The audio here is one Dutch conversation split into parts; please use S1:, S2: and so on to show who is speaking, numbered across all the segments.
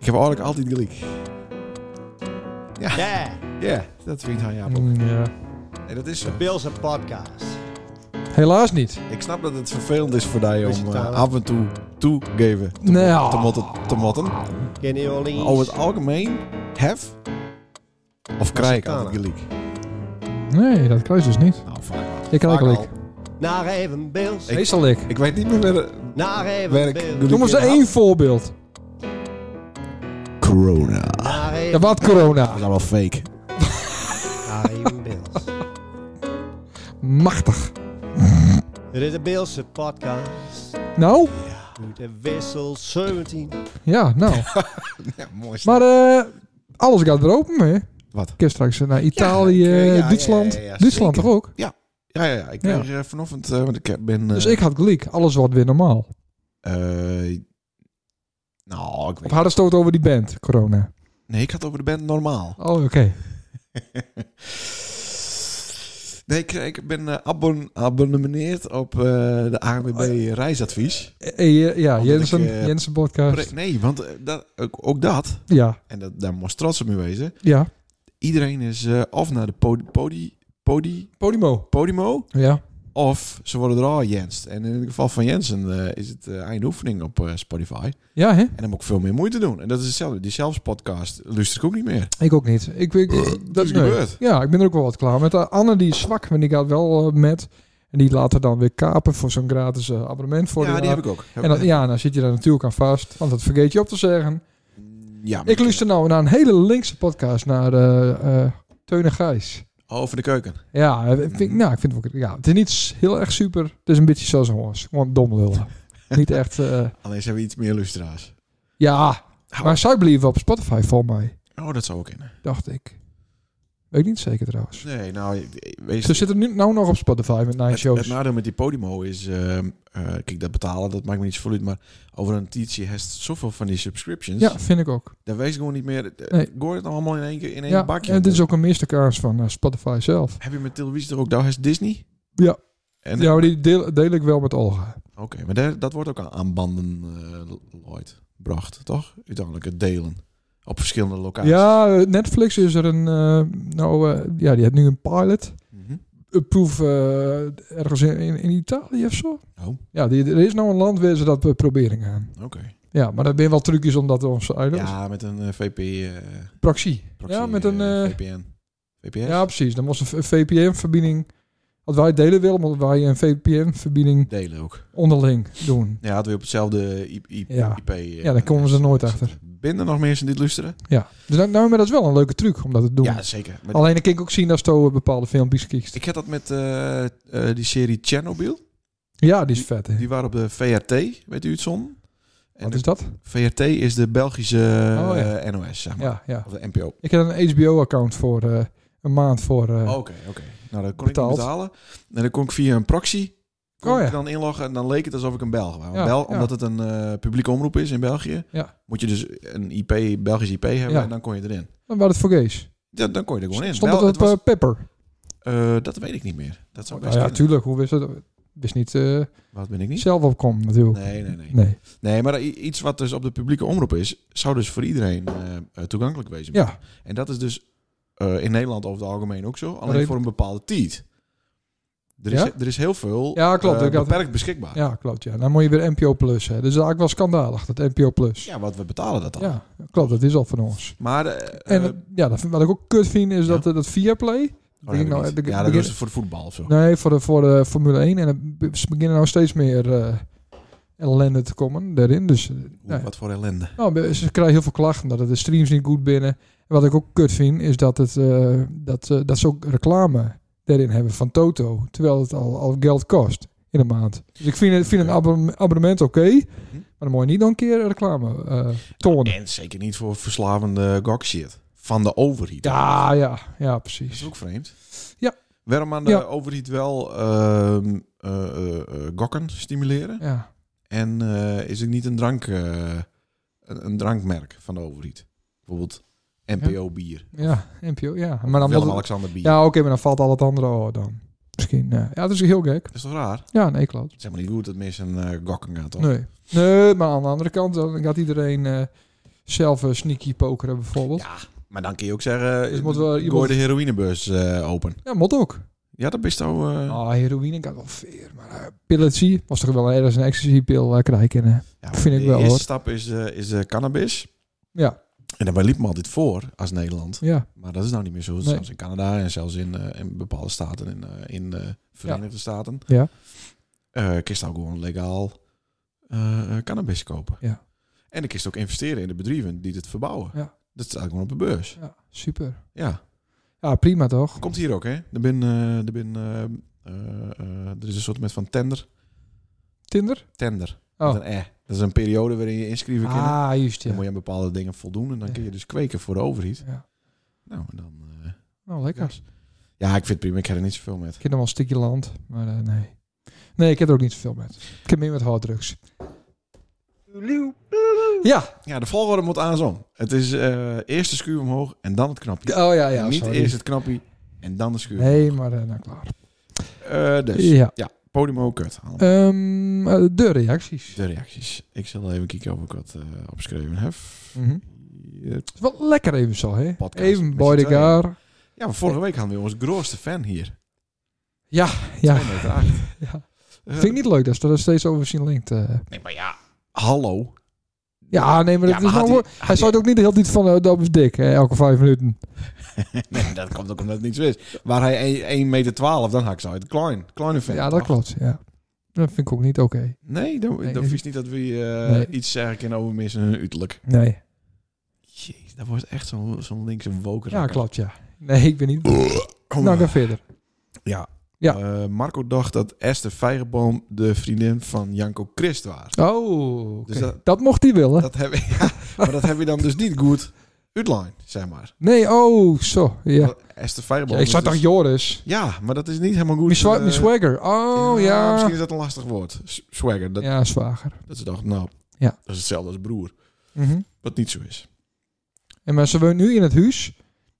S1: heb eigenlijk altijd gelijk.
S2: Ja,
S1: Ja, ja, dat vindt hij Jaap ook.
S2: Mm, ja.
S1: Nee, dat is zo.
S3: Bilse podcast.
S2: Helaas niet.
S1: Ik snap dat het vervelend is voor jou
S3: Beetje
S1: om eh,
S3: talig.
S1: af en toe toegeven te,
S2: Nee,
S1: mo-
S2: ah.
S1: te, motten, te motten. Maar
S3: Kenny Orleans.
S1: over het algemeen, hef of krijg ik
S3: talig.
S1: altijd gelijk.
S2: Nee, dat kruis dus niet.
S1: Nou, vaak wel.
S2: Ik krijg
S1: Vaak
S2: gelijk.
S1: al.
S3: Naar even Bilse.
S2: Meestal ik.
S1: Ik weet niet meer waar de-
S3: Naar even
S1: werk.
S3: Bilse.
S1: doe
S2: Noem
S1: ik
S2: eens
S1: in.
S2: één voorbeeld.
S1: Corona.
S3: Naar
S2: Ja,
S3: even,
S2: wat
S1: Dat
S2: corona.
S1: is allemaal fake.
S3: naar even Bilse.
S2: Machtig.
S3: Dit is de Bilse podcast.
S2: Nou,
S3: Uit de wissel 17.
S2: ja, nou.
S1: Ja, mooi.
S2: Maar eh, alles gaat weer open, hè?
S1: Wat?
S2: Ik heb straks eh, naar Italië,
S1: Ja, ja, ja,
S2: Duitsland.
S1: ja, ja, ja,
S2: Duitsland toch
S1: zeker.
S2: ook?
S1: Ja, ja, ja. Ik kreeg eh, vanochtend, eh, want ik ben... eh,
S2: Dus ik had gelijk. Alles wordt weer normaal.
S1: eh, nou, ik
S2: Of
S1: weet
S2: hadden ze het over die band, corona?
S1: Nee, ik had het over de band Normaal.
S2: Oh, oké.
S1: Nee, ik, ik ben eh, abon abonnemeerd op eh, de ANWB
S2: Oh
S1: reisadvies.
S2: Eh, eh, ja,
S1: Omdat
S2: Jensen,
S1: ik, eh,
S2: Jensen podcast.
S1: Nee, want eh, dat, ook, ook dat,
S2: Ja,
S1: en dat, daar moest trots op mee wezen.
S2: ja.
S1: Iedereen is eh, of naar de podi, podi, podi,
S2: Podimo.
S1: Podimo,
S2: Ja.
S1: of ze worden er al Jens. En in het geval van Jensen eh, is het eh eindoefening op eh, Spotify.
S2: Ja, hè?
S1: En dan moet ik veel meer moeite doen. En dat is hetzelfde. Die zelfs podcast luister ik ook niet meer.
S2: Ik ook niet. Ik, ik, Eh, dat
S1: is
S2: nee.
S1: gebeurd.
S2: Ja, ik ben er ook wel wat klaar met. Eh, Anne die is zwak, maar die gaat wel eh, met. En die laat er dan weer kapen voor zo'n gratis eh, abonnement voor
S1: ja,
S2: een
S1: die
S2: jaar.
S1: heb ik ook.
S2: En dan, ja, dan zit je daar natuurlijk aan vast. Want dat vergeet je op te zeggen.
S1: ja, maar
S2: Ik luister nou naar een hele linkse podcast naar eh eh Teun en Gijs.
S1: Over de keuken.
S2: Ja, eh, vind
S1: Mhm.
S2: ik, nou, ik vind het ook... Ja, het is niet s- heel erg super. Het is een beetje zoals ons. Gewoon dom lullen. niet echt... eh,
S1: Alleen ze hebben iets meer lustra's.
S2: ja, maar zij bleven op Spotify voor mij,
S1: Oh, dat zou ook kunnen.
S2: dacht ik. Weet ik niet zeker trouwens.
S1: Nee, nou, wees
S2: Ze zitten nu nou nog op Spotify met Nine
S1: het,
S2: Shows.
S1: het nadeel met die Podimo is, ehm, eh, kijk, dat betalen, dat maakt me niet zoveel uit, maar over een tientje heeft zoveel van die subscriptions,
S2: ja, vind ik ook.
S1: daar wees ik gewoon niet meer, eh,
S2: Nee.
S1: gooi het allemaal in één keer in één
S2: Ja,
S1: bakje.
S2: en dit is ook een meeste kaars van eh, Spotify zelf.
S1: Heb je met televisie er ook, daar is Disney?
S2: Ja.
S1: En,
S2: Ja, maar die deel, deel ik wel met Olga.
S1: Oké, maar daar, dat wordt ook aan, aan banden eh Lloyd bracht, toch? Uiteindelijk het delen op verschillende locaties.
S2: Ja, eh, Netflix is er een... eh, nou, eh, ja, die heeft nu een pilot.
S1: Mhm.
S2: Een proef eh, ergens in, in, in Italië of zo.
S1: Oh, oké.
S2: Ja, die, er is nou een land waar ze dat eh, proberen gaan. Ja, maar dat zijn wel trucjes omdat we ons uit
S1: Ja, met een eh, VP, eh,
S2: Proxy.
S1: proxy,
S2: Ja, met een...
S1: eh,
S2: eh,
S1: VPN. VPS?
S2: ja, precies. Dan was een VPN-verbinding... Wat wij delen willen, omdat wij een VPN-verbinding
S1: Delen ook.
S2: onderling doen.
S1: Ja, het weer op hetzelfde I- I-
S2: Ja.
S1: IP. eh,
S2: Ja, daar komen ze er nooit
S1: zit.
S2: achter.
S1: Binden nog mensen die luisteren?
S2: Ja. Dus nou, nou, maar dat is wel een leuke truc om dat te doen.
S1: Ja, zeker. Maar
S2: Alleen dan kan ik ook zien als je bepaalde filmpjes kiest.
S1: ik had dat met eh, eh, die serie Chernobyl.
S2: Ja, die is vet. Hè.
S1: Die waren op de VRT, weet u het zon? En
S2: Wat
S1: de
S2: is dat?
S1: VRT is de Belgische
S2: Oh, ja.
S1: eh, NOS, zeg maar.
S2: Ja, ja.
S1: Of de NPO.
S2: Ik heb een HBO-account voor eh, een maand voor... eh,
S1: Oké, oké. Nou, dat kon
S2: Betaald.
S1: ik niet betalen. En dan kon ik via een proxy kon
S2: Oh, ja.
S1: ik dan inloggen en dan leek het alsof ik een Belg was. Want
S2: Ja,
S1: Bel,
S2: ja.
S1: Omdat het een eh, publieke omroep is in België,
S2: Ja.
S1: moet je dus een IP, Belgisch IP hebben
S2: Ja.
S1: en dan kon je erin.
S2: Dan was het voor gays.
S1: Ja, dan kon je er gewoon in.
S2: Stond
S1: Bel-
S2: het op
S1: het was-
S2: eh, Pepper?
S1: Eh, dat weet ik niet meer. Dat zou best
S2: Nou ja,
S1: kunnen.
S2: tuurlijk. Hoe wist dat? Wist niet eh,
S1: Wat ben ik niet?
S2: zelf opkomen natuurlijk.
S1: Nee, nee, nee.
S2: Nee.
S1: Nee, maar i- iets wat dus op de publieke omroep is, zou dus voor iedereen eh, eh, toegankelijk wezen.
S2: Ja,
S1: En dat is dus eh, in Nederland over het algemeen ook zo, alleen
S2: Alleen-
S1: voor een bepaalde tijd. Er is,
S2: Ja?
S1: er is heel veel
S2: Ja, klopt.
S1: eh,
S2: Ik had-
S1: beperkt beschikbaar. Ja.
S2: ja, klopt. Ja. Dan moet je weer NPO Plus. Hè. Dus eigenlijk wel schandalig, dat NPO Plus. Ja,
S1: wat we betalen dat dan.
S2: klopt. Dat is al van ons.
S1: Maar eh,
S2: En
S1: eh,
S2: dat- ja, dat, vind- wat ik ook kut vind,
S1: ja.
S2: is dat, eh, dat Viaplay...
S1: oh, dat heb ik
S2: nou,
S1: niet.
S2: ik- ik
S1: ja, dat
S2: begin-
S1: is voor de voetbal of zo.
S2: Nee, voor de, voor de Formule 1. En het be- ze beginnen nou steeds meer eh, ellende te komen daarin. Dus eh,
S1: Hoe-
S2: nee.
S1: Wat voor ellende.
S2: nou, ze krijgen heel veel klachten dat het de streams niet goed binnen. En wat ik ook kut vind, is dat, het, eh, dat, eh, dat ze ook reclame daarin hebben van Toto. Terwijl het al, al geld kost in een maand. Dus ik vind, het- vind een
S1: Oké.
S2: abonne- abonnement oké. Maar dan moet je niet dan een keer reclame eh tonen.
S1: En zeker niet voor verslavende gokshit van de overheid.
S2: Ja, Ah, ja, ja,
S1: Dat is
S2: precies.
S1: ook vreemd.
S2: Ja.
S1: Waarom aan de
S2: Ja.
S1: overheid wel ehm, eh, eh, eh, gokken stimuleren?
S2: Ja.
S1: En eh, is het niet een, drank, eh, een, een drankmerk van de overheid? Bijvoorbeeld NPO bier.
S2: Ja, NPO, ja. Maar dan moet het-
S1: Willem-Alexander bier.
S2: Ja, oké, maar dan valt al het andere oh, dan. Misschien. eh, ja, dat is heel gek.
S1: Dat is toch raar?
S2: Ja, nee, klopt.
S1: Zeg maar niet goed dat mensen eh gokken gaan, toch?
S2: Nee. nee, maar aan de andere kant dan gaat iedereen eh, zelf eh, sneaky pokeren bijvoorbeeld. Ja,
S1: Ja, maar dan kun je ook zeggen,
S2: Dus
S1: dus
S2: moet wel iemand-
S1: de heroïnebeurs eh, open.
S2: mot ook.
S1: Ja, dat is nou... eh,
S2: Ah, heroïne kan wel veer, maar eh, pilletje was toch wel ergens een ecstasypil eh krijgen. kunnen.
S1: ja,
S2: vind ik
S1: de
S2: wel,
S1: eerste
S2: hoor.
S1: stap is, eh, is eh, cannabis.
S2: Ja,
S1: En daarbij liep me altijd voor als Nederland.
S2: ja.
S1: Maar dat is nou niet meer zo.
S2: Nee.
S1: Zelfs in Canada en zelfs in, eh, in bepaalde staten in, eh, in de Verenigde Staten.
S2: Ja.
S1: Eh, kist ook gewoon legaal eh, eh, cannabis kopen.
S2: Ja.
S1: En ik kist ook investeren in de bedrijven die dit verbouwen.
S2: Ja.
S1: Dat staat gewoon op de beurs.
S2: Ja, super.
S1: Ja.
S2: Ja, prima toch?
S1: Komt hier ook, hè? Er, bin, eh, er, bin, eh, eh, eh, er is een soort met van tender.
S2: Tinder?
S1: Tender.
S2: Oh.
S1: Met een eh. Dat is een periode waarin je inschrijven kan.
S2: Ah, juist
S1: Dan
S2: ja.
S1: moet je aan bepaalde dingen voldoen. En dan
S2: Ja.
S1: kun je dus kweken voor de overheid.
S2: ja.
S1: Nou, en dan... eh,
S2: Nou, lekker.
S1: gas. Ja, ik vind het prima. Ik heb er niet zoveel met.
S2: Ik heb nog wel een stukje land, maar eh, nee. Nee, ik heb er ook niet zoveel met. Ik heb meer met harddrugs. Ja,
S1: Ja, de volgorde moet andersom. Het is eh, eerst de schuur omhoog en dan het knapje.
S2: oh ja, ja.
S1: niet
S2: sorry.
S1: eerst het knapje en dan de schuur.
S2: Nee, maar eh, nou klaar.
S1: Eh, dus,
S2: Ja.
S1: podium ook kut. Allemaal.
S2: Ehm, eh, de reacties.
S1: De reacties. Ik zal even kijken of ik wat eh, opgeschreven heb.
S2: Mhm.
S1: Hier.
S2: Het is wel lekker even zo, hè?
S1: Podcast
S2: even
S1: met
S2: bij
S1: z'n
S2: de
S1: tweeën.
S2: gar.
S1: Ja, maar vorige week hadden we onze grootste fan hier.
S2: Ja.
S1: 2 meter acht.
S2: ja.
S1: Eh,
S2: Vind ik niet leuk dat ze er steeds over zien linkt. eh.
S1: Nee, maar ja. Hallo.
S2: Ja, nee, maar,
S1: Ah, Ja,
S2: het
S1: maar
S2: is
S1: had
S2: nou,
S1: hij-
S2: hij, hij
S1: had
S2: zou het ook niet de hele tijd van eh, dat is dik, hè, elke vijf minuten.
S1: nee, dat komt ook omdat het niet zo is. Waar hij 1 meter 12, dan hak ik zo uit. Klein. Kleine fan.
S2: Ja, dat klopt. Ja. Dat vind ik ook niet oké.
S1: Nee, dan,
S2: Nee,
S1: dan
S2: nee.
S1: vies niet dat we eh,
S2: Nee.
S1: iets zeggen kunnen over mensen hun uiterlijk.
S2: Nee.
S1: Jeez, dat wordt echt zo'n zo'n linkse woker.
S2: Ja, klopt, ja. Nee, ik ben niet... Nou, ga verder. ja.
S1: Eh, Marco dacht dat Esther Vijgenboom de vriendin van Janko Christ was.
S2: Oh,
S1: Dus
S2: oké.
S1: dat-
S2: dat, mocht hij willen.
S1: Dat heb, ja, maar dat heb je dan dus niet goed uitline, zeg maar.
S2: Nee, oh, zo. Ja.
S1: Want Esther Vijgenboom...
S2: ja ik
S1: is
S2: zat
S1: dus-
S2: toch Joris?
S1: Ja, maar dat is niet helemaal goed.
S2: Mijn swa-
S1: eh,
S2: mijn swagger. Oh,
S1: ja,
S2: ja.
S1: Misschien is dat een lastig woord. S- Swagger. Dat,
S2: Ja, zwager.
S1: dat ze dacht, nou,
S2: Ja.
S1: dat is hetzelfde als broer.
S2: Mhm.
S1: Wat niet zo is.
S2: En maar ze woont nu in het huis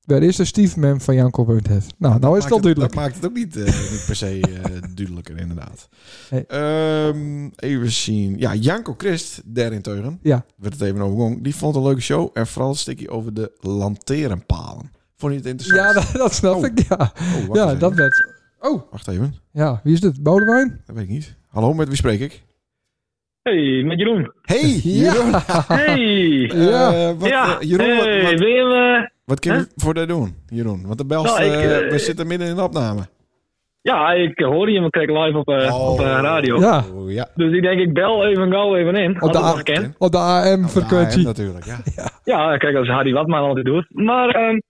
S2: waar is de stiefmem van Janko woont het. Nou, nou is
S1: Maakt
S2: het al duidelijk.
S1: Dat maakt het ook niet, eh, niet per se eh, duidelijker, inderdaad.
S2: Nee.
S1: Ehm, even zien. Ja, Janko Christ, daarentegen.
S2: Ja.
S1: Werd het even overgong. Die vond een leuke show. En vooral een stukje over de lanterenpalen. Vond je het interessant?
S2: Ja, dat, dat snap
S1: Oh.
S2: ik, ja.
S1: Oh, wacht
S2: Ja,
S1: eens
S2: dat
S1: even.
S2: werd... Oh,
S1: Wacht even.
S2: ja. Wie is dit? Boudewijn?
S1: Dat weet ik niet. Hallo, met wie spreek ik?
S4: Hey, met Jeroen.
S1: Hey, Jeroen.
S4: Hey.
S2: Ja.
S1: Eh, wat,
S4: ja,
S1: eh, Jeroen,
S4: hey, eh,
S1: wat, wat,
S4: wil je me-
S1: wat kun je
S4: Huh?
S1: voor dat doen, Jeroen? Want de Belst,
S4: Nou, ik,
S1: eh,
S4: eh,
S1: we zitten midden in de opname.
S4: Ja, ik hoorde je me kreeg live op, eh,
S1: Oh.
S4: op de radio.
S2: Ja.
S1: Oh, ja.
S4: Dus ik denk, ik bel even gauw even in. Als
S2: de
S4: het
S2: a-
S4: nog kan.
S2: Op Oh, de
S1: Oh, Ja,
S2: AM-frequentie.
S1: natuurlijk, ja.
S4: Ja, kijk, als Harry Watman altijd doet. Maar, ehm,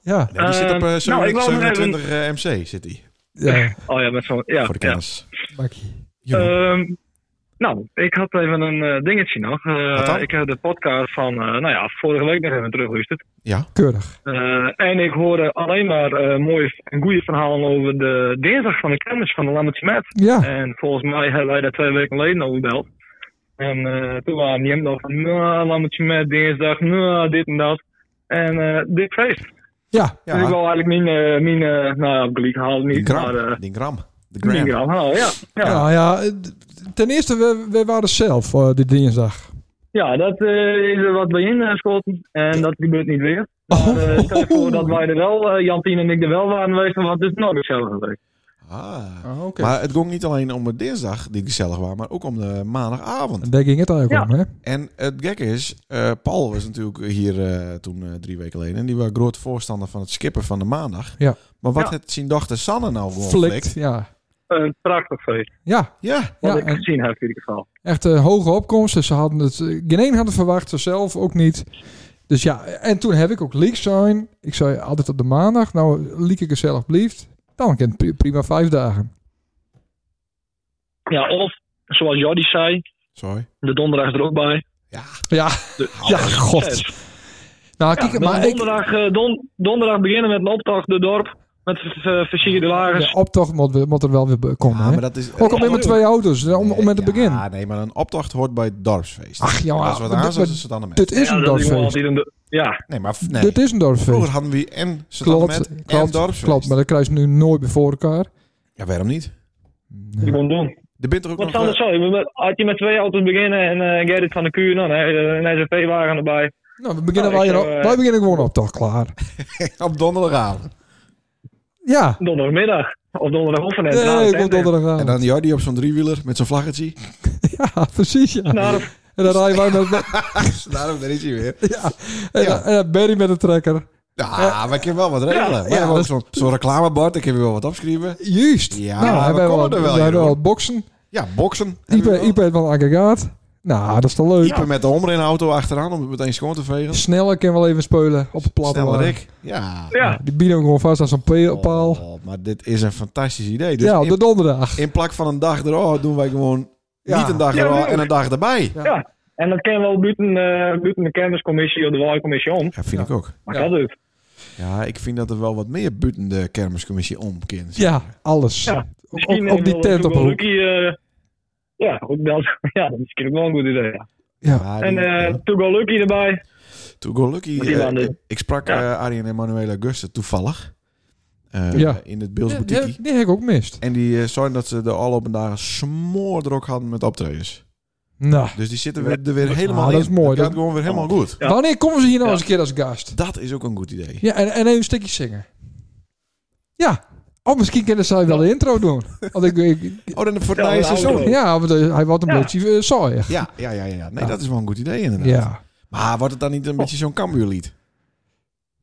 S2: Ja.
S1: Nee, die zit op eh,
S4: Ehm, nou, ik wou nog even-
S1: 27 eh, MC, zit hij.
S2: Ja,
S4: oh ja, met zo'n... Ja,
S1: voor de
S4: ja.
S1: kennis.
S2: Bakkie.
S1: Jeroen.
S4: Ehm, nou, ik had even een eh, dingetje nog. Eh,
S1: Wat dan?
S4: ik heb de podcast van, eh, nou ja, vorige week nog even teruggeluisterd.
S1: ja.
S2: Keurig.
S4: Eh, en ik hoorde alleen maar eh, mooie en goede verhalen over de dinsdag van de kennis van de Lammertje Met.
S2: Ja.
S4: En volgens mij hebben wij daar twee weken geleden al gebeld. En eh, toen waren die hem nog van, nou, lammetje met dinsdag, nou, dit en dat. En eh dit feest.
S2: Ja.
S1: Ja,
S4: Dus ik wil eigenlijk mijn, eh, mijn eh, nou ja, gelijk halen
S1: die
S4: niet,
S1: gram.
S4: maar eh
S1: die gram. De
S4: mijn
S1: gram.
S4: gram halen, ja. Ja, ja.
S2: Ja, ja. eh, d- Ten eerste, we, we waren zelf eh, de dinsdag.
S4: dat eh, is er wat bij ingeschoten en dat gebeurt niet weer. Maar eh, stel je voor dat wij er wel, eh, Jantien en ik er wel waren geweest, want het dus is nog gezellig geweest.
S1: Ah.
S2: Ah, oké.
S1: Maar het ging niet alleen om de dinsdag, die gezellig was, maar ook om de maandagavond.
S2: En Daar ging het eigenlijk
S4: Ja.
S2: om, hè?
S1: En het gekke is, eh, Paul was natuurlijk hier eh, toen eh, drie weken geleden. En die was groot voorstander van het skippen van de maandag.
S2: Ja.
S1: Maar wat
S4: Ja.
S1: het zijn dochter Sanne nou gewoon
S2: Flikt,
S1: flikt.
S2: ja.
S4: Een prachtig feest,
S2: Ja,
S1: Ja.
S4: wat
S2: ja
S4: ik
S2: en
S4: gezien heb in ieder geval.
S2: echt een hoge opkomst. Dus ze hadden het, eh, geen één had het verwacht, ze zelf ook niet. Dus ja, en toen heb ik ook leaks zijn. Ik zei altijd op de maandag, nou, leak ik gezellig blieft. Dan kan het pri- prima vijf dagen.
S4: Ja, of, zoals Jordi zei,
S1: Sorry.
S4: de donderdag er ook bij.
S1: Ja.
S2: Ja, ja,
S4: Zes.
S2: god. Nou,
S4: Ja,
S2: kijk,
S4: dus
S2: maar ik,
S4: donderdag, eh, don- donderdag beginnen met een optocht door het dorp. Met v- v- versierde
S2: de
S4: lagers.
S2: optocht moet, we- moet er wel weer be- komen,
S1: Ja,
S2: hè?
S1: maar dat is...
S2: Ook al met mijn twee auto's, hè, om, om met het
S1: Nee,
S2: begin.
S1: Ja, nee, maar een opdracht hoort bij het dorpsfeest.
S2: Ach, ja,
S1: En dat is wat
S2: maar-
S1: anders dan
S2: maar-
S1: Satanenmens.
S2: Dit is
S4: Ja,
S2: een
S4: dat is gewoon
S2: dorpsfeest.
S4: altijd een do- Ja,
S1: Nee, maar f- nee.
S2: Dit is een dorpsfeest.
S1: Vroeger hadden we en Satanenmens
S2: Klopt,
S1: en
S2: klopt,
S1: dorpsfeest.
S2: klopt, maar dat krijg je nu nooit meer voor elkaar.
S1: Ja, waarom niet?
S4: die gewoon doen.
S1: Er bent er ook
S4: Wat
S1: nog...
S4: eh, anders zo? je moet met- Als je met twee auto's beginnen en eh Gerrit van de Kuur, dan hè, een SFP-wagen erbij.
S2: Nou, we beginnen
S4: Nou,
S2: wij,
S4: ik
S2: hier
S4: zou,
S2: al-
S4: eh,
S2: wij beginnen gewoon op, toch? Klaar.
S1: eh, Op donderdagavond.
S2: Oh. Ja.
S4: Donderdagmiddag. Of donderdagochtend.
S2: Nee,
S4: na het
S2: ik wil
S4: eten.
S1: En
S2: donderdagavond.
S1: dan Jordi op zo'n driewieler met zo'n vlaggetje.
S2: Ja, precies, ja.
S4: Na de-
S2: En dan rijden wij met... met-
S1: Dus Daarom, daar is hij weer.
S2: ja. En,
S1: Ja.
S2: dan- en dan Barry met een trekker.
S1: Ja, maar ik heb wel wat regelen.
S4: Ja,
S1: Ja,
S2: ja, dat-
S1: zo'n zo'n reclamebord, ik heb wel wat opschrijven.
S2: Juist.
S1: Ja,
S2: nou,
S1: we
S2: hebben
S1: komen
S2: wel,
S1: er wel,
S2: we hebben
S1: Jeroen.
S2: wel boksen.
S1: Ja, boksen.
S2: Ipe, Ipe heeft wel een aggregaat. Nou, dat is toch leuk.
S1: Ieper met de omrenauto achteraan om het meteen schoon te vegen.
S2: Sneller kan wel even spelen op het platte
S1: Snelle
S2: laag.
S1: Rick. Ja.
S4: Ja,
S2: Die bieden hem gewoon vast aan zo'n pe-
S1: Oh,
S2: paal.
S1: maar dit is een fantastisch idee. Dus
S2: ja, op de
S1: in,
S2: donderdag.
S1: in plak van een dag erop doen wij gewoon
S2: Ja.
S1: niet een dag
S4: Ja,
S1: erop
S4: leuk.
S1: en een dag erbij.
S2: Ja.
S4: en dat kennen we wel buiten, eh, buiten de kermiscommissie of de walcommissie om.
S1: Ja, vind
S2: Ja.
S1: ik ook.
S4: Maar
S2: Ja.
S4: dat doet.
S1: Ja, ik vind dat er wel wat meer buiten de kermiscommissie om kind.
S2: Ja, alles.
S4: Ja,
S2: Op, op, op die
S4: heeft wel-
S2: tent op
S4: wel
S2: een hoek.
S4: Lucky, eh, ja, ook dat, ja, dat is misschien ook wel een goed idee. ja.
S2: Ja.
S4: En eh To Go Lucky erbij.
S1: To Go Lucky,
S4: Die
S1: eh,
S4: waren er.
S1: ik- ik sprak
S4: Ja.
S1: eh, Arjen Emanuele Augusta toevallig eh,
S2: Ja.
S1: in het Beels
S2: Die, die,
S1: Boutique.
S2: die heb ik ook mist.
S1: En die eh, zeiden dat ze de afgelopen dagen smoordrok hadden met optredens.
S2: Nou,
S1: Dus die zitten weer, er weer helemaal
S2: dat
S1: in.
S2: is mooi.
S1: Dat gaat
S2: Dat-
S1: gewoon weer helemaal goed.
S4: Ja.
S2: wanneer komen ze hier nou
S4: Ja.
S2: eens een keer als gast?
S1: Dat is ook een goed idee.
S2: Ja, en, en even een stukje zingen. Ja. Oh, misschien kunnen zij wel de intro doen. Want ik, ik-
S1: Oh, dan voor het
S4: Ja,
S1: nieuwe
S4: een
S1: seizoen.
S4: auto.
S2: ja, want eh, hij wordt een
S4: Ja.
S2: beetje eh, saaiig.
S1: Ja, ja, ja, ja. Nee,
S2: Ja.
S1: dat is wel een goed idee inderdaad.
S2: Ja. Oh.
S1: Maar wordt het dan niet een beetje zo'n Cambuurlied?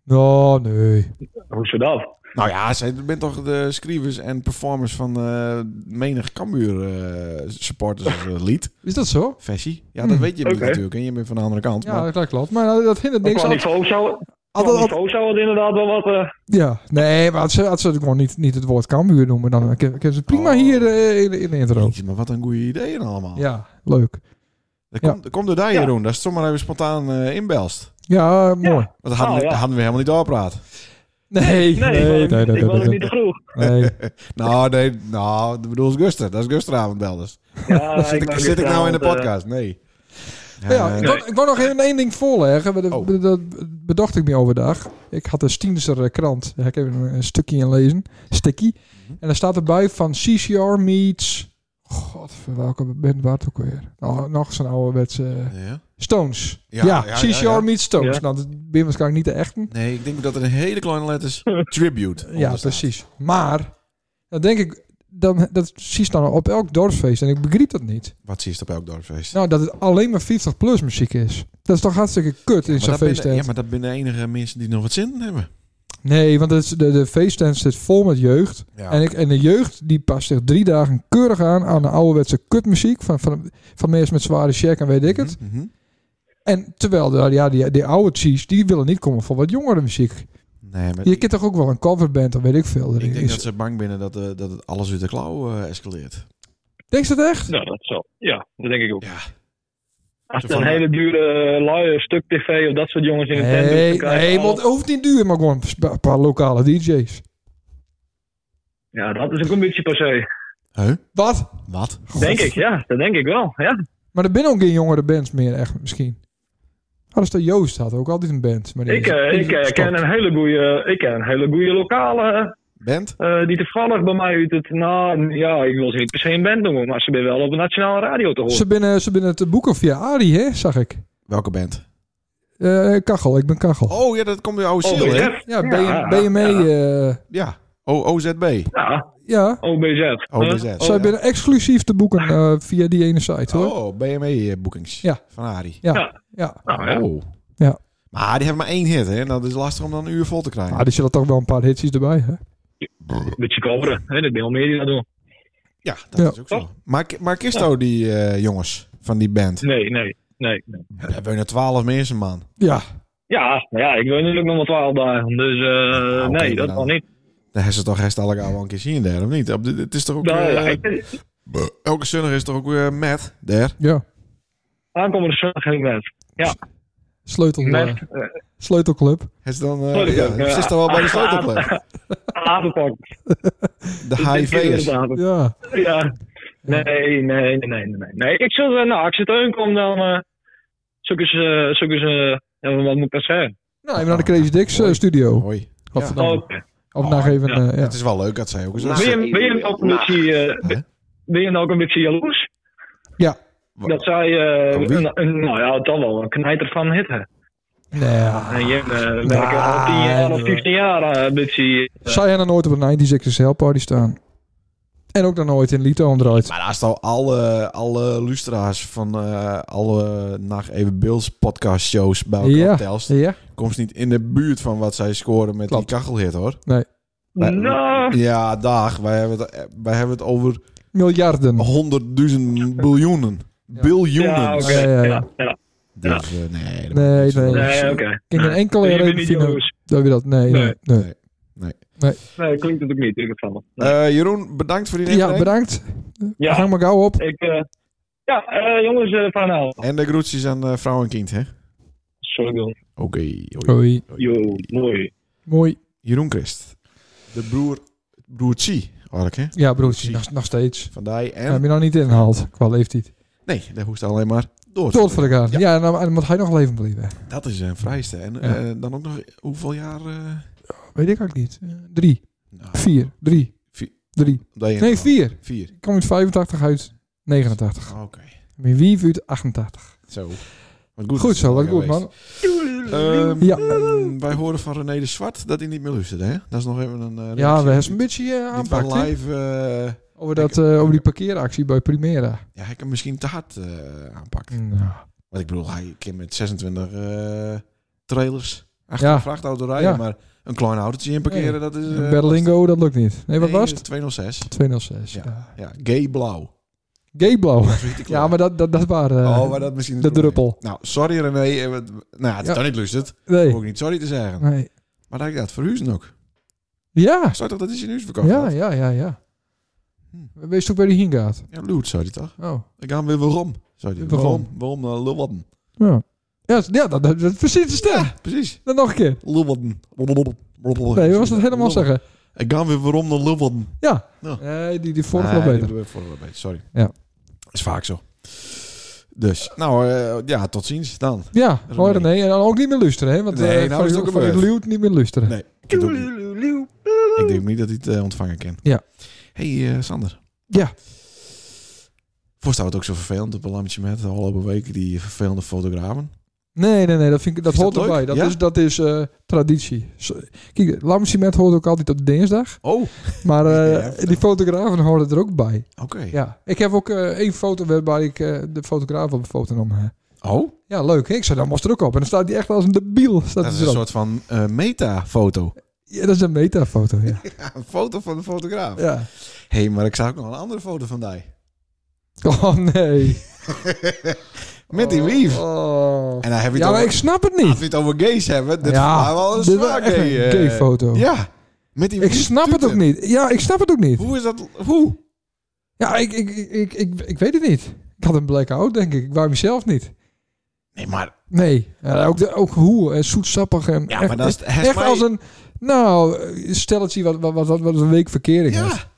S2: Nou, nee.
S4: Hoe ze dat?
S1: Nou ja, zij bent toch de schrijvers en performers van eh, menig Cambuur eh, supporters eh, lied.
S2: Is dat zo?
S1: Versie. Ja,
S2: Hmm.
S1: dat weet je niet
S4: Oké.
S1: natuurlijk. En je bent van de andere kant.
S2: Ja,
S1: maar-
S2: dat- dat klopt. Maar dat hindert
S4: Maar
S2: niks.
S4: Qua
S2: Als,
S4: niveau zou,
S2: als-
S4: qua
S2: als-
S4: niveau zou het inderdaad wel wat... eh,
S2: ja, nee, maar als ze, als ze gewoon niet, niet het woord Cambuur noemen, dan kunnen kunnen ze prima
S1: Oh.
S2: hier eh, in, de- in de intro.
S1: Jeetje, maar wat een goede ideeën allemaal.
S2: Ja, leuk.
S1: Dat
S2: Ja.
S1: komt, dat komt door daar,
S4: Ja.
S1: Jeroen. Dat is toch maar even spontaan eh, inbelst.
S2: Ja, eh, mooi.
S1: Want dat hadden,
S4: Oh,
S1: we,
S4: ja.
S1: dat hadden we helemaal niet doorpraat.
S2: Nee,
S4: nee,
S2: nee, nee,
S4: ik,
S2: nee, nee,
S4: was- ik was
S2: nee,
S4: het niet te vroeg.
S2: nee.
S1: Nou, nee. Nou, dat bedoel is Guster. Dat is Gusteravond belders.
S4: Ja,
S1: Zit, ik,
S4: ben
S1: zit ik nou in de
S4: gisteravond, eh,
S1: podcast? Nee.
S2: Maar Oh ja,
S1: Eh,
S2: ik, wou, ik wou nog even één ding voorleggen. maar Dat,
S1: Oh.
S2: dat- dat bedacht ik me overdag. Ik had een Stienser eh, krant. Daar heb ik even een, een stukje in lezen. Stukje.
S1: Mhm.
S2: En daar staat erbij van CCR meets... God, voor welke band was het ook weer? Nou, nog zo'n ouderwetse... eh,
S1: ja.
S2: Stones. Ja,
S1: Ja, ja, ja,
S2: CCR
S1: ja.
S2: meets Stones.
S4: Ja.
S2: Nou, dat ben waarschijnlijk niet de echte.
S1: Nee, ik denk dat er een hele kleine letters tribute
S2: Ja,
S1: onder staat.
S2: precies. Maar, dan denk ik... Dan, dat zie je dan op elk dorpsfeest. En ik begreep dat niet.
S1: Wat zie je op elk dorpsfeest?
S2: Nou, dat het alleen maar 50 plus muziek is. Dat is toch hartstikke kut in
S1: maar
S2: zo'n
S1: dat binnen-
S2: feesttent.
S1: ja, maar dat binnen de enige mensen die nog wat zin in hebben.
S2: Nee, want het, is- de, de feesttent zit vol met jeugd.
S1: Ja.
S2: En, ik, en de jeugd die past zich drie dagen keurig aan aan de ouderwetse kutmuziek. Van, van, van mensen met zware check en weet ik het.
S1: Mhm, mhm.
S2: En terwijl de, ja, die, die oude cheese, die willen niet komen voor wat jongere muziek.
S1: Nee, maar
S2: Je kent toch ook wel een coverband of weet ik veel.
S1: ik
S2: erin
S1: denk
S2: is.
S1: dat ze bang binnen dat, eh, dat het alles uit de klauw eh, escaleert.
S2: Denk je dat echt?
S4: Nou, dat zal. Ja, dat denk ik ook.
S1: Ja.
S4: Als het
S1: Zo
S4: een
S1: van-
S4: hele dure eh, luie stuk tv of dat soort jongens in de tent doen,
S2: Nee,
S4: dan krijg je
S2: nee,
S4: allemaal-
S2: want het hoeft niet duur, maar gewoon een paar lokale DJ's.
S4: Ja, dat is ook een beetje passé.
S1: Huh?
S2: Wat?
S1: Wat?
S4: Denk ik, ja. Dat denk ik wel, ja.
S2: Maar er zijn ook geen jongere bands meer, echt misschien. Hadden ze de Joost had ook altijd een band. Maar die
S4: Ik,
S2: is-
S4: eh,
S2: die is
S4: ik eh,
S2: gestopt.
S4: ken een hele goeie, ik ken een hele goeie lokale
S1: Bent?
S4: eh, die toevallig bij mij uit het, nou ja, ik wil ze niet per se een band noemen, maar ze zijn wel op de nationale radio te horen.
S2: Ze binnen, ze binnen te boeken via Ari, hè, zag ik.
S1: Welke band?
S2: Eh, kachel, ik ben kachel.
S1: Oh ja, dat komt weer oude
S4: OBZ.
S1: ziel, hè?
S2: ja, ben
S4: ja,
S2: je, ben je mee?
S4: ja.
S2: Ja.
S1: Ja. O OZB.
S4: Ja,
S2: ja.
S4: OBZ.
S1: OBZ.
S4: Huh?
S2: Zij binnen exclusief te boeken eh, via die ene site, hoor.
S1: Oh, BME boekings.
S2: Ja.
S1: Van Arie.
S2: Ja. ja.
S4: Ja. Nou, ja.
S1: Oh.
S2: Ja.
S1: Maar die hebben maar één hit, hè? En dat is lastig om dan een uur vol te krijgen.
S2: Ah, die zullen toch wel een paar hitsjes erbij, hè?
S4: Een beetje coveren, hè, dat ben al meer die dat doen.
S1: Ja, dat
S2: Ja.
S1: is ook
S4: Oh.
S1: zo. Maar, maar Kisto, die eh, jongens van die band.
S4: Nee, nee, nee. nee.
S1: Ja, daar wonen twaalf mensen, man.
S2: Ja.
S4: Ja, ja, ik wil natuurlijk nog maar 12 dagen, dus eh,
S1: Nou, oké,
S4: nee, dat
S1: dan-
S4: kan niet.
S1: Daar hebben ze toch rest alle gauw wel een keer zien daar, of niet? Op de- Het is toch ook...
S4: Nou,
S1: eh,
S4: ja, ik-
S1: elke zondag is toch ook eh, weer Matt, daar?
S2: Ja.
S4: Aankomende zondag heb ik met.
S2: Sleutel,
S4: Met
S2: eh, sleutelclub.
S1: Is dan... eh,
S4: Sorry,
S1: ja,
S4: ik,
S1: het
S4: eh,
S1: is toch wel bij de sleutelclub?
S4: apenpak.
S1: De HIV'ers.
S2: Ja.
S4: Ja. Nee, nee, nee, nee, nee. nee. Ik zul, eh, nou, als je teun komt, dan eh zoek eens, eh, zoek eens eh, ja, wat moet ik dat zeggen?
S2: Nou, even naar de Crazy Dicks eh,
S1: Mooi.
S2: studio.
S1: Hoi.
S2: Godverdamme.
S4: Oh, oké.
S2: Of nog even... eh, ja.
S1: Het is wel leuk dat zij ook eens...
S4: Ben je, ben je ook een beetje, eh,
S1: Hè?
S4: ben je nou ook een beetje jaloers?
S2: Ja.
S4: Dat zij, eh,
S1: Van wie?
S4: een, een- nou ja, dan wel een knijter van hit hebben.
S2: Nee.
S4: En Jim eh, werken al 10 jaar of 15 jaar eh, een beetje. eh,
S2: Zij hebben nooit op een 90s XXL party staan. En ook dan nooit in Lito omdraait.
S1: Maar als nou alle, alle luisteraars van eh, alle Nacht Even Bills podcast shows bij elkaar
S2: Ja.
S1: telst,
S2: Ja?
S1: komt ze niet in de buurt van wat zij scoren met
S2: Klopt.
S1: die kachelhit hoor. maar-
S4: nou,
S1: Ja, dag. Wij hebben het, eh, wij hebben het over
S2: Miljarden.
S1: Oh, honderdduizend biljoenen.
S2: Ja.
S1: Biljoenen.
S4: ja, oké.
S2: Ja, ja, ja.
S4: ja, ja.
S1: Dus, eh, nee, dat
S2: Nee,
S1: moet niet zo
S2: nee.
S1: doen.
S4: Nee, oké.
S2: Ken je een enkele
S4: Dus je bent
S2: reden
S4: niet
S2: vinden
S4: jaloers.
S2: dat we dat... Nee, nee,
S4: Nee.
S2: nee.
S4: Nee, klinkt het ook niet in ieder geval. Nee.
S1: Eh, Jeroen, bedankt voor die
S2: Ja,
S1: inbreng.
S2: bedankt.
S4: Ja,
S2: Hang maar gauw op.
S4: ik. eh, ja, eh, jongens, eh, van nou.
S1: En de groetjes aan eh, vrouw en kind, hè? Oké.
S4: Sorry, Bill.
S1: hoi.
S2: Hoi.
S4: Yo, mooi.
S2: Mooi.
S1: Jeroen Christ. De broer... Broertje, eigenlijk, hè?
S2: Ja, broertje, nog, nog steeds.
S1: Van die en...
S2: Hij heb je nog niet ingehaald qua leeftijd.
S1: Nee, daar hoest alleen maar door. te
S2: Tot voor elkaar.
S1: Ja.
S2: Ja, en dan, en dan moet hij nog leven blijven.
S1: Dat is een vrijste. En eh, dan ook nog hoeveel jaar? eh,
S2: Weet ik ook niet. Eh, drie,
S1: nou,
S2: vier, drie,
S1: Vier.
S2: drie.
S1: dat je-
S2: Nee, vier.
S1: Vier. Ah,
S2: Ik kom uit 85 uit 89.
S1: Oké.
S2: Mijn wie uit 88.
S1: Zo. Wat goed,
S2: Goed
S1: is
S2: zo,
S1: het
S2: wat
S1: al
S2: goed man.
S1: geweest. Ehm,
S2: Ja.
S1: ehm, wij horen van René de Zwart dat hij niet meer luistert, hè? Dat is nog even een... eh,
S2: Ja, we
S1: reactie.
S2: hebben een beetje eh
S1: Die van
S2: aanpakt. hè?
S1: live... eh,
S2: Over, dat, eh, over die parkeeractie bij Primera.
S1: ja, hij kan misschien te hard eh aanpakken.
S2: Nou,
S1: Want ik bedoel, hij kan met 26 eh, trailers achter
S2: Ja.
S1: een vrachtauto rijden,
S2: Ja.
S1: maar een klein autootje in parkeren,
S2: Nee.
S1: dat is... eh,
S2: Berlingo, dat lukt niet. Nee, wat
S1: nee,
S2: was
S1: dat
S2: het?
S1: is 206.
S2: 206.
S1: Ja.
S2: Ja.
S1: Ja, gay blauw.
S2: Gay Blauw.
S1: Dat is niet de kleur.
S2: Ja, maar dat, dat, dat waren... eh,
S1: oh, maar dat misschien...
S2: de druppel.
S1: Nou, sorry René. eh, wat- Nou, het is
S2: Ja.
S1: dan niet lust het.
S2: Nee.
S1: Ook niet sorry te zeggen.
S2: nee.
S1: Maar dat ik dat verhuizen ook.
S2: Ja.
S1: Zou toch dat is je nu verkocht?
S2: Ja,
S1: had?
S2: ja, ja, ja.
S1: Hm.
S2: Wees ook bij die heen gaat.
S1: Ja, Loot, zou die toch?
S2: Oh.
S1: Ik ga hem weer waarom? Zou die
S2: Waarom?
S1: waarom? Waarom naar eh, Leeuwarden?
S2: Ja. Ja, s- ja dat, dat, dat precies de stem.
S1: Precies.
S2: Dan nog een keer.
S1: Leeuwarden. Oh,
S2: Nee, we was dat helemaal zeggen.
S1: Ik ga weer waarom naar Leeuwarden.
S2: Ja.
S1: Ja.
S2: Nee, die, die vorige
S1: Nee,
S2: wel
S1: Ah, die
S2: beter.
S1: hebben we vorige wel beter, sorry.
S2: Ja.
S1: Is vaak zo. Dus, nou eh, ja, tot ziens dan.
S2: Ja,
S1: René.
S2: hoor nee. En dan ook niet meer luisteren, hè? Want
S1: Nee,
S2: eh,
S1: nou
S2: van
S1: is het
S2: je-
S1: ook
S2: van je
S1: gebeurd.
S2: luwt niet meer luisteren.
S1: Nee. Ik weet ook niet. Ik denk niet dat hij het eh, ontvangen kan.
S2: Ja.
S1: hey, eh, Sander.
S2: Ja.
S1: Voorstel het ook zo vervelend op een lammetje met de afgelopen week die vervelende fotografen.
S2: Nee, nee, nee, dat, vind ik, dat
S1: Is dat
S2: hoort
S1: leuk?
S2: erbij. Dat
S1: Ja?
S2: is, dat is eh, traditie. Zo- Kijk, Lamsimet hoort ook altijd op dinsdag.
S1: Oh, oké.
S2: Maar eh,
S1: Ja, ja.
S2: die fotografen horen er ook bij. Ja. Ik heb ook eh, één foto waarbij ik eh, de fotograaf op een foto nam. hè.
S1: Oh,
S2: Ja, leuk. Ik zei, dan was er ook op. En dan staat die echt als een debiel. Staat
S1: dat is
S2: die
S1: een
S2: erop.
S1: soort van eh, meta-foto.
S2: Ja, dat is een metafoto, ja.
S1: Ja, een foto van de fotograaf.
S2: ja.
S1: Hé, hey, maar ik zag ook nog een andere foto van die.
S2: Oh, nee.
S1: Met die
S2: Oh,
S1: wief.
S2: oh.
S1: En hij heeft het
S2: Ja, maar
S1: over,
S2: ik snap het
S1: als
S2: niet.
S1: we het over gays hebben. Ah, Dit
S2: Ja,
S1: ja, wel een
S2: dit was
S1: zwaar
S2: echt
S1: gay,
S2: een
S1: eh,
S2: gayfoto.
S1: Ja, met die
S2: Ik
S1: wief
S2: snap het ook
S1: tuten.
S2: niet. Ja, ik snap het ook niet.
S1: Hoe is dat? Hoe?
S2: Ja, ik, ik, ik, ik, ik, ik weet het niet. Ik had een blackout, denk ik. Ik wou mezelf niet.
S1: Nee, maar,
S2: Nee. Ja, ook, de, ook hoe. En zoetsappig. En
S1: ja,
S2: echt,
S1: maar dat is
S2: echt als een... Nou, eh, stelletje wat, wat, wat, wat een week verkering heeft.
S1: Ja.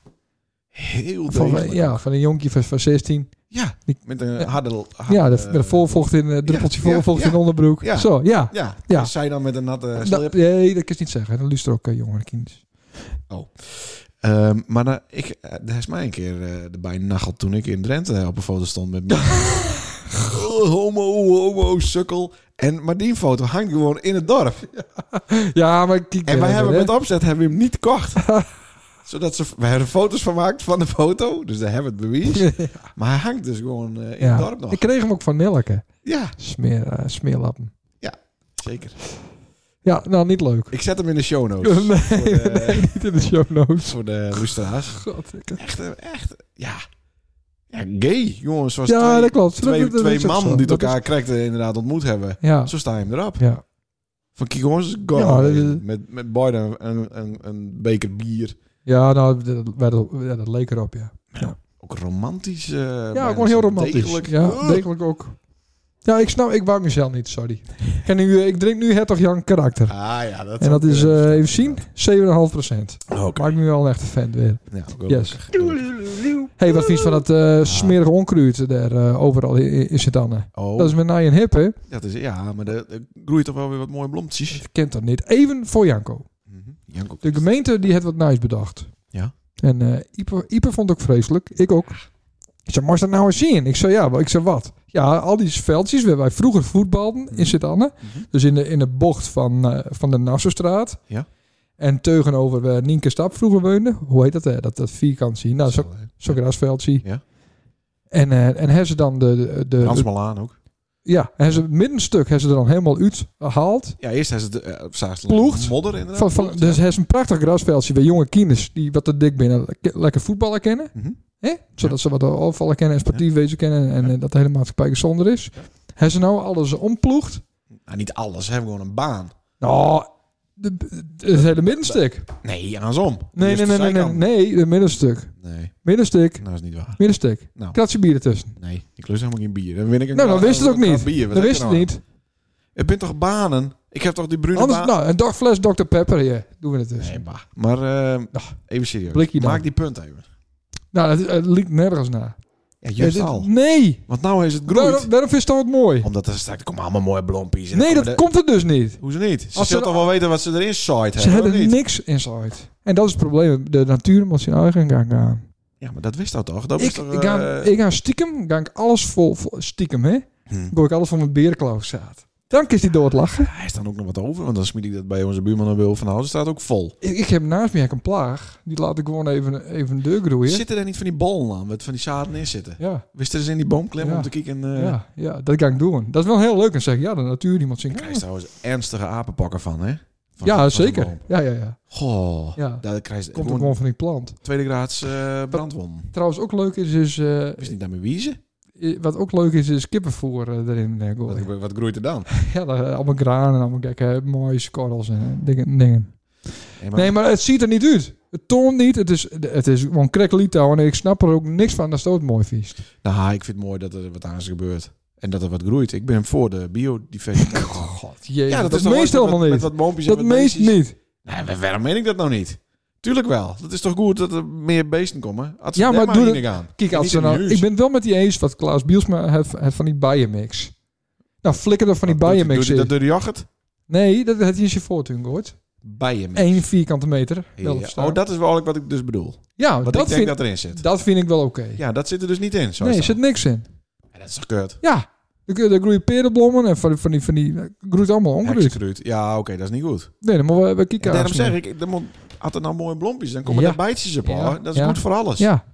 S1: Heel
S2: Van,
S1: degelijk.
S2: ja, van een jonkje van, van 16.
S1: Ja,
S2: Die-
S1: met een
S2: Ja.
S1: harde... harde-
S2: Ja, de, met een volvocht in... eh, druppeltje
S1: Ah, ja,
S2: volvocht
S1: ja.
S2: in de onderbroek.
S1: Ja.
S2: Zo, ja.
S1: Ja,
S2: Ja.
S1: dus zij dan met een natte
S2: Dat,
S1: slip.
S2: nee, dat kan ik niet zeggen. Dan luister ook eh, jongere kindjes.
S1: Ehm, maar dan, ik, eh, er is mij een keer eh, erbij nageld toen ik in Drenthe op een foto stond met me. Oh, homo, homo, sukkel. En, maar die foto hangt gewoon in het dorp.
S2: Ja, maar kijk...
S1: En
S2: eh,
S1: wij hebben
S2: hè.
S1: met opzet hebben we hem niet gekocht. Zodat ze, we hebben er foto's van gemaakt van de foto. Dus daar hebben we het bewijs. Maar hij hangt dus gewoon eh, in het
S2: Ja.
S1: dorp nog.
S2: Ik kreeg hem ook van Nelke.
S1: Ja,
S2: Smeer, eh, smeerlappen.
S1: zeker.
S2: Ja, nou, niet leuk.
S1: Ik zet hem in de show notes.
S2: Nee,
S1: voor, eh, de,
S2: niet in de show notes.
S1: voor de luisteraars.
S2: God, ik-
S1: Echt, eh, echt, ja. Ja, gay, jongens. Zoals
S2: ja,
S1: twee,
S2: dat klopt.
S1: twee,
S2: Dat- dat
S1: twee
S2: is ook
S1: man
S2: zo.
S1: die het
S2: Dat is-
S1: elkaar correct eh, inderdaad ontmoet hebben.
S2: Ja,
S1: Zo sta je hem erop.
S2: ja.
S1: Van kijk jongens, go.
S2: Ja, dat is-
S1: met, met Biden een, een, een beker bier.
S2: ja nou, dat, wij dat, ja, dat leek erop, ja.
S1: Ook romantisch. eh,
S2: Ja,
S1: bijna
S2: gewoon heel
S1: zo
S2: romantisch.
S1: degelijk.
S2: Ja,
S1: Ugh.
S2: degelijk ook. Ja, ik snap, ik wou mezelf niet, sorry. En nu, eh, ik drink nu Hertog Jan karakter.
S1: Ah ja, dat
S2: En dat
S1: ook,
S2: is,
S1: eh,
S2: eh, even zien, 7,5 procent.
S1: Oh, Oké.
S2: Maakt me wel een echte fan weer.
S1: Ja, ook wel
S2: Yes.
S1: lekker. Gelukkig.
S2: hey, wat vies van dat eh smerige onkruid daar eh, overal in, in Sint-Anne.
S1: Ah. Oh,
S2: Dat is met Nijen Hip, hè?
S1: ja, maar er er groeit toch wel weer wat mooie blommetjes.
S2: Dat kent dat niet. Even voor Janko.
S1: Mhm. Janko.
S2: De gemeente die had wat nice bedacht.
S1: Ja.
S2: En eh Ipe, Ipe vond het ook vreselijk. Ik ook. Ik zei, moest dat nou eens zien? Ik zei, ja, maar ik zei, wat? Ja, al die veldjes waar wij vroeger voetbalden in Sint-Anne.
S1: Mhm.
S2: Dus in de, in de bocht van, eh, van de Nassaustraat.
S1: Ja.
S2: En tegenover waar Nienke Stap vroeger woonde. Hoe heet dat? eh, Dat, dat vierkant zien. Nou, zo, zo'n grasveldje.
S1: Ja.
S2: En, eh en hebben ze dan de... de, de-
S1: Hans Malaan ook.
S2: ja, hebben ze het middenstuk hebben ze er dan helemaal uit gehaald.
S1: Ja, eerst is het eh, op zaterdag
S2: Ploegt.
S1: modder inderdaad.
S2: Van, van,
S1: Ploegt,
S2: dus
S1: ja.
S2: hij is een prachtig grasveldje bij jonge kinders die wat te dik binnen le- lekker voetballen kennen.
S1: Mhm.
S2: Hè? Zodat ze wat overvallen kennen en sportief wezen kennen en
S1: Ja.
S2: eh, dat de hele maatschappij gezonder is.
S1: Ja.
S2: Hij ze nou alles omploegd.
S1: Nou, niet alles, ze hebben gewoon een baan.
S2: Nou, de, de- het hele middenstuk.
S1: Nee, andersom.
S2: Nee,
S1: Eerst
S2: nee,
S1: de
S2: nee, nee, nee,
S1: zijkant.
S2: nee, het middenstuk.
S1: Nee,
S2: Middenstuk,
S1: nou is niet waar.
S2: middenstuk.
S1: Nou.
S2: Kratje bier ertussen.
S1: Nee, ik lust helemaal geen bier. Dan win ik een
S2: Nou, dan
S1: kra-
S2: wist het ook
S1: een kra-
S2: niet.
S1: Bier. Wat
S2: Dat
S1: heb
S2: wist
S1: je
S2: het
S1: nou?
S2: niet.
S1: Het bent toch banen? Ik heb toch die brune
S2: Anders,
S1: baan?
S2: nou, een dag fles Dr. Pepper, ja, doen we het dus.
S1: Nee, bah. Maar eh,
S2: Ach,
S1: even serieus.
S2: Nou, blikje dan.
S1: Maak die punt even.
S2: Nou, het, het liep nergens naar.
S1: Ja, juist
S2: Ja, dit-
S1: al.
S2: Nee,
S1: Want nou is het groeit.
S2: daarom, daarom is het dan wat mooi.
S1: Omdat er straks komen allemaal mooie blompies. en
S2: Nee,
S1: dan
S2: dat
S1: komen
S2: komt er dus niet.
S1: de- Hoezo niet? Ze
S2: Als ze
S1: zullen
S2: er-
S1: toch wel weten wat ze erin saaid hebben,
S2: Ze hebben
S1: of niet?
S2: niks inside. En dat is het probleem. De natuur moet zijn eigen gang gaan.
S1: Ja, maar dat wist dat toch? Dat
S2: Ik,
S1: was toch...
S2: ik, ga,
S1: eh,
S2: ik ga stiekem, ga ik alles vol, vol- stiekem, hè?
S1: hm.
S2: Gooi ik alles van mijn berenklauw zaad. Dan is die doodlachen.
S1: Hij is dan ook nog wat over, want dan smiet ik dat bij onze buurman en Wil van Houten staat ook vol.
S2: Ik, ik heb naast me een plaag. Die laat ik gewoon even, even deur groeien.
S1: Zitten er niet van die ballen aan, wat van die zaden in zitten?
S2: Ja,
S1: Wist er eens in die boom klemmen
S2: Ja.
S1: om te kijken? eh
S2: ja, ja, dat ga ik doen. Dat is wel heel leuk. En zeggen, ja, de natuur, die moet zijn
S1: Hij krijgt
S2: gang.
S1: trouwens ernstige apenpakken van, hè? Van-
S2: Ja,
S1: van zo'n
S2: zeker.
S1: boom.
S2: Ja, ja, ja.
S1: Goh,
S2: Ja.
S1: daar krijg je
S2: Komt ook
S1: gewoon
S2: gewoon van die plant.
S1: tweede graads eh brandwond.
S2: Trouwens, ook leuk is, is eh,
S1: Is niet naar mijn wiezen?
S2: eh, wat ook leuk is, is kippenvoer eh, erin eh, gooien.
S1: Wat, wat groeit er dan?
S2: Ja, daar, eh, allemaal graan en allemaal gekke eh, mooie skorrels en eh, dingen. dingen.
S1: Nee, maar,
S2: Nee, maar het ziet er niet uit. Het toont niet. Het is, het is gewoon kreklito en ik snap er ook niks van. Dat is ook mooi vies.
S1: Nou, ik vind het mooi dat er wat aan is gebeurd. En dat er wat groeit. Ik ben voor de biodiversiteit.
S2: God, jezus.
S1: ja,
S2: dat,
S1: is toch
S2: meest
S1: wel eens met
S2: helemaal
S1: wat-
S2: niet.
S1: Met wat boompjes en
S2: dat
S1: wat
S2: meest
S1: beestjes.
S2: niet.
S1: Nee, maar waarom meen ik dat nou niet? Tuurlijk wel. Dat is toch goed dat er meer beesten komen? Had ze
S2: Ja,
S1: daar
S2: maar
S1: maar
S2: doe
S1: in
S2: dat-
S1: gaan.
S2: Kijk,
S1: En
S2: als
S1: niet
S2: ze
S1: in
S2: nou,
S1: huis.
S2: ik ben het wel met die eens wat Klaus Bielsma heeft, heeft van die bijenmix. Nou, flikker er van die
S1: Doet- doet
S2: bijenmix
S1: hij Dat
S2: in.
S1: door de yoghurt?
S2: Nee, dat had je in zijn voortuin gehoord.
S1: Bijenmix.
S2: Eén vierkante meter.
S1: Ja.
S2: Wel of staan.
S1: Oh, dat is wel wat ik dus bedoel.
S2: ja,
S1: Wat
S2: dat,
S1: ik denk
S2: vind,
S1: dat erin zit.
S2: dat vind ik wel oké.
S1: Ja, dat zit er dus niet in. Zo
S2: nee, er
S1: is dat.
S2: zit niks in.
S1: Ja, dat is toch kut?
S2: Ja, er kun- er groeien perenblommen en van, van die, van die, er groeit allemaal onkruid.
S1: Hekskruid. Ja, oké, dat is niet goed.
S2: Nee, dan moeten we, we
S1: En
S2: kijken.
S1: daarom
S2: als
S1: zeg
S2: we-
S1: ik, dan moet, had er nou mooie blompjes, dan komen
S2: Ja.
S1: er bijtjes op.
S2: Ja.
S1: hoor. Dat is
S2: Ja.
S1: goed voor alles.
S2: Ja,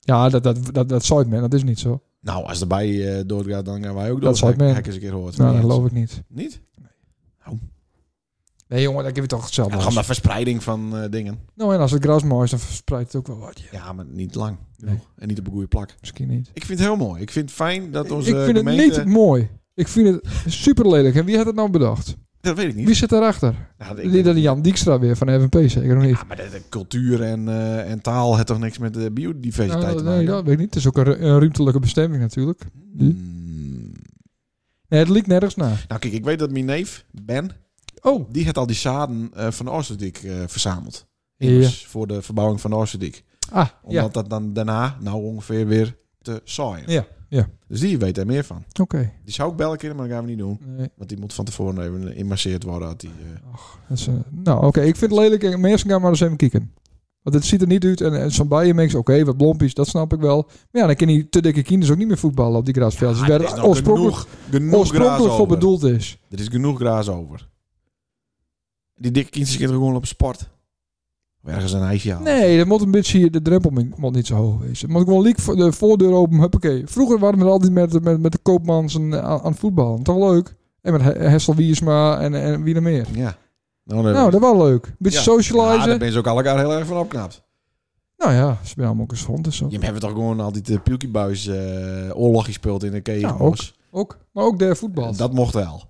S2: ja dat, dat, dat, dat zou ik men, dat is niet zo.
S1: Nou, als de bij eh doodgaat, dan gaan wij ook dood.
S2: Dat zou ik
S1: Heb-
S2: meen.
S1: heb ik eens een keer gehoord.
S2: Nou,
S1: Nee,
S2: dat geloof ik niet.
S1: Niet?
S2: Nee, jongen, dat geef je toch
S1: Ja,
S2: hetzelfde.
S1: dan
S2: als.
S1: gaan we verspreiding van eh, dingen.
S2: Nou, en als het gras mooi is, dan verspreidt het ook wel wat. Ja,
S1: Ja, maar niet lang.
S2: Nee.
S1: En niet op een goede plak.
S2: misschien niet.
S1: Ik vind het heel mooi. Ik vind het fijn dat onze
S2: ik vind
S1: gemeente...
S2: het niet mooi. Ik vind het super lelijk. En wie had het nou bedacht?
S1: Dat weet ik niet.
S2: Wie zit daarachter?
S1: Ja, ik
S2: Die, dat die Jan Dijkstra weer van FNP zeker of niet?
S1: Ja, maar de, de cultuur en, eh, en taal heeft toch niks met de biodiversiteit
S2: Nou,
S1: te
S2: nee,
S1: maken?
S2: dat weet ik niet. Het is ook een, ru- een ruimtelijke bestemming natuurlijk.
S1: Hmm.
S2: Nee, het liep nergens naar.
S1: Nou kijk, ik weet dat mijn neef, Ben,
S2: Oh,
S1: die had al die zaden eh, van de Oosterdijk eh, verzameld.
S2: Ja.
S1: Immers voor de verbouwing van de Oosterdijk.
S2: ah,
S1: Omdat
S2: ja.
S1: dat dan daarna nou ongeveer weer te saaien.
S2: Ja, ja.
S1: Dus die weet er meer van.
S2: Oké.
S1: Die zou ik bellen kunnen, maar dat gaan we niet doen.
S2: Nee.
S1: Want die moet van tevoren even gemasseerd worden. Uit die, eh,
S2: Dat is, eh, nou, oké, ik vind het lelijk. En Mensen gaan maar eens even kijken. Want het ziet er niet uit. En, en zo'n bijenmix, oké, wat blompies, dat snap ik wel. Maar ja, dan kan die te dikke kinders ook niet meer voetballen op die grasveldjes.
S1: ah,
S2: waar
S1: er
S2: het
S1: nog
S2: oorspronkelijk,
S1: genoeg, genoeg graas
S2: oorspronkelijk
S1: over.
S2: voor bedoeld is.
S1: Er is genoeg graas over. Die dikke kindjes kunnen gewoon op sport. Of ergens een ijsje halen.
S2: Nee, dat moet een beetje, de drempel mi- moet niet zo hoog wezen. Het moet gewoon liek voor de voordeur open, huppakee. Vroeger waren we altijd met, met, met de koopmans en, eh, aan, aan het voetballen. Toch leuk? En met He- Hessel Wiersma en, en wie er meer.
S1: Ja. Nou, dan
S2: Nou, dat was leuk. Een beetje
S1: Ja. Ja, daar
S2: socializen.
S1: ben je ook al elkaar heel erg van opknapt.
S2: Nou ja, ze zijn allemaal gezond en zo.
S1: Je hebt toch gewoon altijd de pielkiebuis eh oorlog gespeeld in de
S2: Ja,
S1: kegenbos.
S2: Ook, maar ook daar voetbal.
S1: dat mocht wel.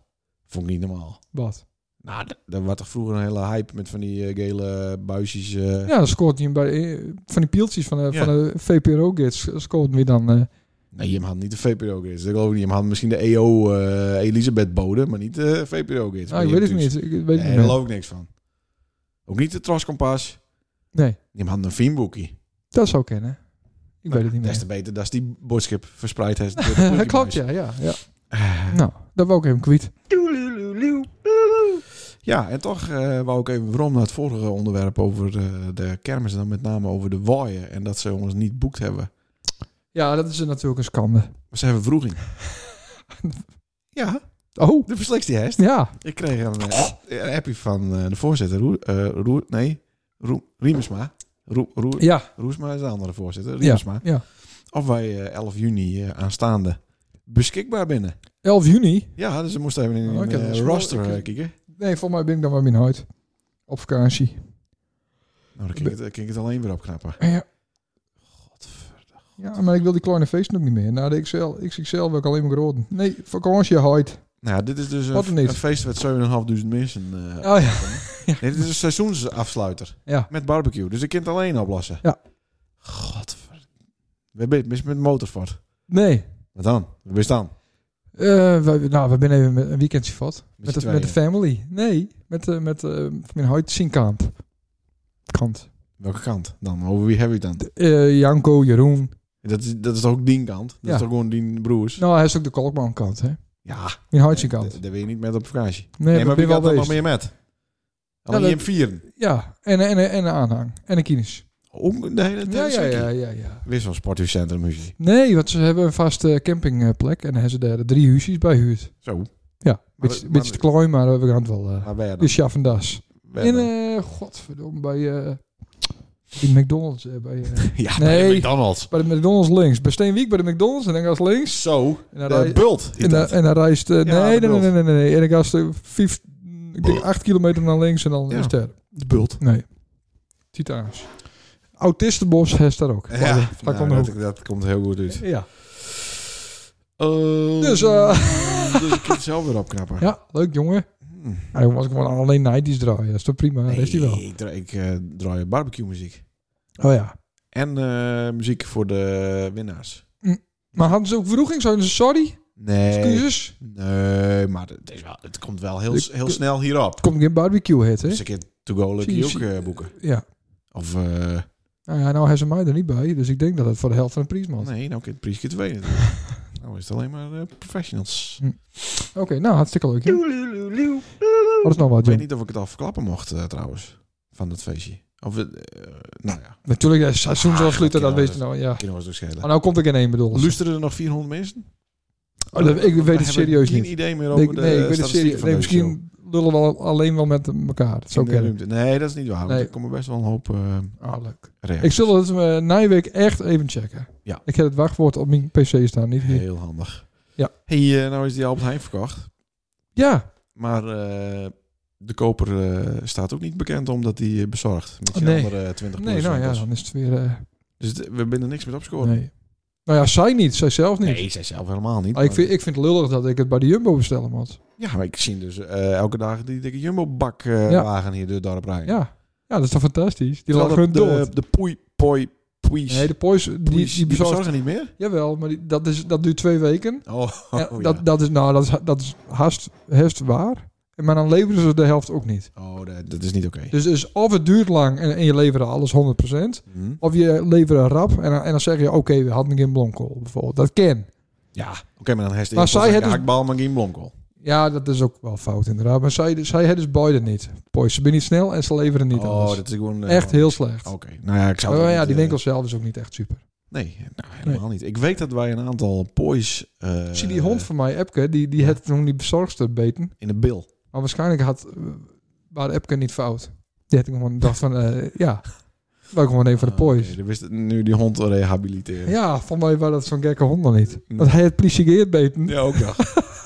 S1: Vond ik niet normaal.
S2: Wat?
S1: Nou, d- er was toch vroeger een hele hype met van die eh, gele buisjes. eh.
S2: Ja, dan scoort hij hem bij eh, van die pieltjes van de,
S1: Ja.
S2: van de VPRO-gids. Scoort hij dan. eh,
S1: Nee, je had niet de VPRO-gids. Ik geloof niet. Je had misschien de EO eh, Elisabeth Bode, maar niet de VPRO-gids.
S2: nou, ik weet het niet. Ik weet het
S1: Nee,
S2: niet.
S1: daar
S2: meer.
S1: geloof ik niks van. Ook niet de Troskompas.
S2: Nee,
S1: Je had een filmboekie.
S2: dat zou kennen. Ik weet het niet
S1: Des te
S2: meer.
S1: beter Nou, dat is die boodschap verspreid heeft. door de
S2: dat klopt,
S1: pielkiebuis.
S2: ja. ja, ja.
S1: Eh,
S2: Nou, dat wou ik even kwijt.
S1: Ja, en toch eh wou ik even waarom naar het vorige onderwerp over eh, de kermis. En dan met name over de waaien. En dat ze ons niet boekt hebben.
S2: Ja, dat is natuurlijk een schande.
S1: Maar ze hebben vroeging. ja,
S2: Oh,
S1: de verslekste hest.
S2: ja.
S1: Ik kreeg een, eh, een appie van eh, de voorzitter. Roer, eh, Roer- nee, Roer- Riemersma. Roer, Roer-
S2: Ja.
S1: Roesma is de andere voorzitter.
S2: Ja.
S1: Riemersma.
S2: ja.
S1: Of wij eh, 11 juni eh, aanstaande beschikbaar binnen.
S2: 11 juni.
S1: Ja, dus we moesten even in
S2: Oh,
S1: een
S2: ik heb
S1: eh,
S2: dat gesproken.
S1: roster
S2: Ik-
S1: eh, kijken.
S2: Nee, volgens mij ben ik dan wel in huid. Op vakantie.
S1: Nou, dan kan ik, het, dan kan ik het alleen weer opknappen.
S2: Ja.
S1: Godver-
S2: ja, maar ik wil die kleine feesten ook niet meer. Nou, de XL, XXL wil ik alleen maar roden. Nee, vakantie huid.
S1: Nou, ja, dit is dus
S2: Wat
S1: een,
S2: niet.
S1: een feest met 7.500 mensen. eh,
S2: Oh ja.
S1: nee, dit is een seizoensafsluiter.
S2: Ja.
S1: Met barbecue. Dus ik kan het alleen oplossen.
S2: Ja.
S1: Godver... We zijn mis met motorsport.
S2: Nee.
S1: Wat dan? We bestaan.
S2: Eh, wij, nou, we zijn even met een weekendje vat. Met,
S1: z'n
S2: de, met de
S1: tweeën.
S2: family. Nee, met, eh met eh, van mijn huid Sinkamp. Kant.
S1: Welke kant dan? Over wie heb ik dan?
S2: Eh, Janko, Jeroen.
S1: Dat is, dat is toch ook dien kant? Dat
S2: Ja.
S1: is toch gewoon dien broers?
S2: Nou, hij is ook de Kalkman kant, hè?
S1: Ja,
S2: Mijn huidje
S1: eh,
S2: kant.
S1: d- daar ben je niet met op vakantie.
S2: Nee,
S1: nee, maar
S2: ben
S1: wie gaat
S2: wel
S1: er nog
S2: bezig.
S1: meer met? Alleen
S2: dat-
S1: in vieren.
S2: Ja, en, en, en een aanhang. En een kines.
S1: Ook de hele
S2: Ja,
S1: tijd.
S2: ja, ja, ja, ja.
S1: Weer zo'n sporthuiscentrum. muziek.
S2: Nee, want ze hebben een vaste campingplek. En dan hebben ze daar drie huisjes bij huurd.
S1: Zo,
S2: Ja,
S1: Maar
S2: beetje,
S1: dat-
S2: beetje te
S1: maar-
S2: klein, maar we gaan het wel... eh
S1: waar ben je
S2: de
S1: dan?
S2: Schaff en Das.
S1: Waar
S2: In,
S1: ben je
S2: eh godverdomme, bij... eh, in McDonald's. eh, bij, eh,
S1: dan? ja,
S2: nee.
S1: bij de McDonald's.
S2: bij de McDonald's links. Bij Steenwijk bij de McDonald's. En dan gaat het links.
S1: Zo,
S2: En dan
S1: de
S2: rij-
S1: bult. is
S2: En, dan-
S1: dat.
S2: en dan reist... eh,
S1: Ja,
S2: nee,
S1: de
S2: nee, nee,
S1: bult.
S2: nee, nee, nee. En dan gaat ze vijf, ik denk acht kilometer naar links en dan
S1: Ja.
S2: is het er.
S1: De bult.
S2: Nee. Titaans. Autistenbos heeft daar ook.
S1: Ja,
S2: Daar
S1: nou,
S2: komt
S1: dat,
S2: ook.
S1: dat komt heel goed uit.
S2: Ja.
S1: Eh,
S2: Dus, eh,
S1: dus ik kan het zelf weer opknappen.
S2: ja, leuk jongen.
S1: Hmm.
S2: Hij was ik gewoon alleen nighties draaien. Dat is toch prima? dat heeft hij wel.
S1: Ik, dra- ik eh, draai barbecue muziek.
S2: Oh ja.
S1: En eh, muziek voor de winnaars.
S2: Maar hadden ze ook vroeging? Zouden ze sorry?
S1: Nee.
S2: Excuses?
S1: Nee, maar het, is wel, het komt wel heel,
S2: Ik-
S1: heel snel hierop.
S2: Komt geen barbecue hit, hè?
S1: Dus ik kan To Go Lucky ook
S2: Zie-
S1: eh, boeken.
S2: Ja.
S1: Of, eh,
S2: Nou ja, nou hebben ze mij er niet bij. Dus ik denk dat het voor de helft van de prijs man.
S1: nee, nou kan het Priesje 2 Nou is het alleen maar eh, professionals.
S2: Oké, nou hartstikke leuk. Ja. Wat is nou wat,
S1: Ik weet
S2: John?
S1: niet of ik het al verklappen mocht eh, trouwens, van dat feestje. Of, eh, eh, nou ja,
S2: Natuurlijk, de seizoensafsluiter,
S1: Ah,
S2: dat
S1: oké,
S2: weet je
S1: nou,
S2: nou. Ja.
S1: ik kan ons dus schelen.
S2: Maar nou komt er geen één bedoel.
S1: Luisteren er nog 400 mensen?
S2: Oh, dat- ik weet het
S1: Daar hebben we
S2: serieus
S1: geen
S2: niet.
S1: idee meer
S2: Nee,
S1: over de
S2: nee, ik weet het
S1: statistieken
S2: serieus.
S1: van
S2: Nee,
S1: deze show.
S2: misschien lullen we al- alleen wel met elkaar. Zo
S1: In de
S2: kennen.
S1: ruimte. Nee, dat is niet waar. want
S2: Nee.
S1: er komen best wel een hoop eh
S2: Ah, leuk.
S1: reacties.
S2: Ik zal het uh, Nijweek echt even checken.
S1: Ja.
S2: Ik heb het wachtwoord op mijn PC staan. Niet meer.
S1: Heel handig.
S2: Ja.
S1: Hey, eh, nou is die Albert Heijn verkocht.
S2: Ja,
S1: Maar eh, de koper eh, staat ook niet bekend omdat hij bezorgt. Met
S2: Oh,
S1: die
S2: nee.
S1: andere eh, 20
S2: nee, nou ja,
S1: winkels.
S2: dan is het weer. eh,
S1: Dus het- we binnen niks met opscoren.
S2: nee. Nou ja, zij niet, zij zelf niet.
S1: Nee, zij zelf helemaal niet.
S2: Ah, ik,
S1: maar-
S2: vind, ik vind het lullig dat ik het bij de Jumbo bestellen moet.
S1: Ja, maar ik zie dus eh, elke dag die dikke jumbo-bak
S2: Ja.
S1: wagen hier door het dorp rijden.
S2: Ja. ja, dat is toch fantastisch? Die lagen
S1: Terwijl
S2: hun
S1: de, de,
S2: dood.
S1: de poei, poei, poei's.
S2: Nee, de Poise, die,
S1: poei's,
S2: die bezorgt.
S1: eh, bezorgen niet meer?
S2: Jawel, maar die, dat, is, dat duurt twee weken.
S1: Oh,
S2: En
S1: oh,
S2: dat,
S1: ja.
S2: dat is, nou, dat is, dat is haast, haast waar. Maar dan leveren ze de helft ook niet.
S1: oh dat, dat is niet oké.
S2: Dus, dus of het duurt lang en, en je levert alles 100%.
S1: Hm?
S2: Of je leveren rap en, dan- en dan zeg je, oké, we hadden geen blomkool bijvoorbeeld. Dat ken.
S1: Ja, oké, maar dan heeft de
S2: Maar
S1: eerste
S2: zij
S1: zeggen,
S2: het dus-
S1: hakbal, maar geen blomkool.
S2: Ja, dat is ook wel fout inderdaad. Maar zij, zij hebben dus beide niet. Boy, ze zijn niet snel en ze leveren niet
S1: oh,
S2: alles.
S1: dat is gewoon... eh,
S2: echt heel slecht.
S1: Oké, nou ja, ik zou...
S2: maar
S1: het
S2: ja,
S1: niet,
S2: die
S1: eh,
S2: winkel zelf is ook niet echt super.
S1: Nee, nou, helemaal niet. Ik weet dat wij een aantal pois eh,
S2: Zie die hond van mij, Epke, die, die
S1: ja.
S2: had toen die bezorgster beten.
S1: in de bil.
S2: Maar waarschijnlijk had eh, waar Epke niet fout. Die had ik gewoon dacht van, eh, ja, wel gewoon een van de
S1: Ah,
S2: poys.
S1: oké, dan wist het nu die hond te rehabiliteren.
S2: Ja, van mij was dat zo'n gekke hond dan niet.
S1: Nee.
S2: Want hij had plissiegeerd beten.
S1: Ja, ook nog.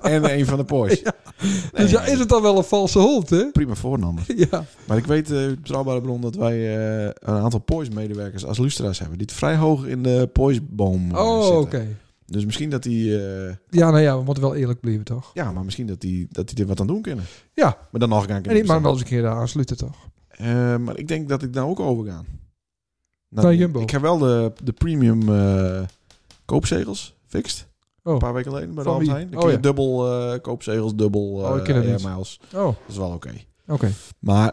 S1: en een van de pois. Nee,
S2: dus ja,
S1: maar
S2: is het dan wel een valse hond, hè?
S1: Prima voornaam.
S2: ja.
S1: Maar ik weet eh, uit betrouwbare bron dat wij eh, een aantal Poise-medewerkers als lustra's hebben. Die het vrij hoog in de Poise-boom eh,
S2: Oh, oké.
S1: zitten. Dus misschien dat die... eh,
S2: Ja, nou ja, we moeten wel eerlijk blijven, toch?
S1: ja, maar misschien dat die, dat die er wat aan doen kunnen.
S2: Ja.
S1: Maar dan nog gaan
S2: En niet maar wel eens een keer daar aansluiten, toch?
S1: Eh, maar ik denk dat ik nou ook overgaan.
S2: Naar Jumbo.
S1: Ik heb wel de, de premium eh, koopzegels fixed.
S2: Oh.
S1: Een paar weken geleden bij de
S2: Van
S1: Albert
S2: wie?
S1: Heijn. Dan
S2: Oh,
S1: kun je
S2: ja.
S1: dubbel eh, koopzegels, dubbel eh
S2: Oh, ik ken het
S1: air
S2: niet.
S1: miles.
S2: Oh, oké.
S1: Dat is wel oké. Maar...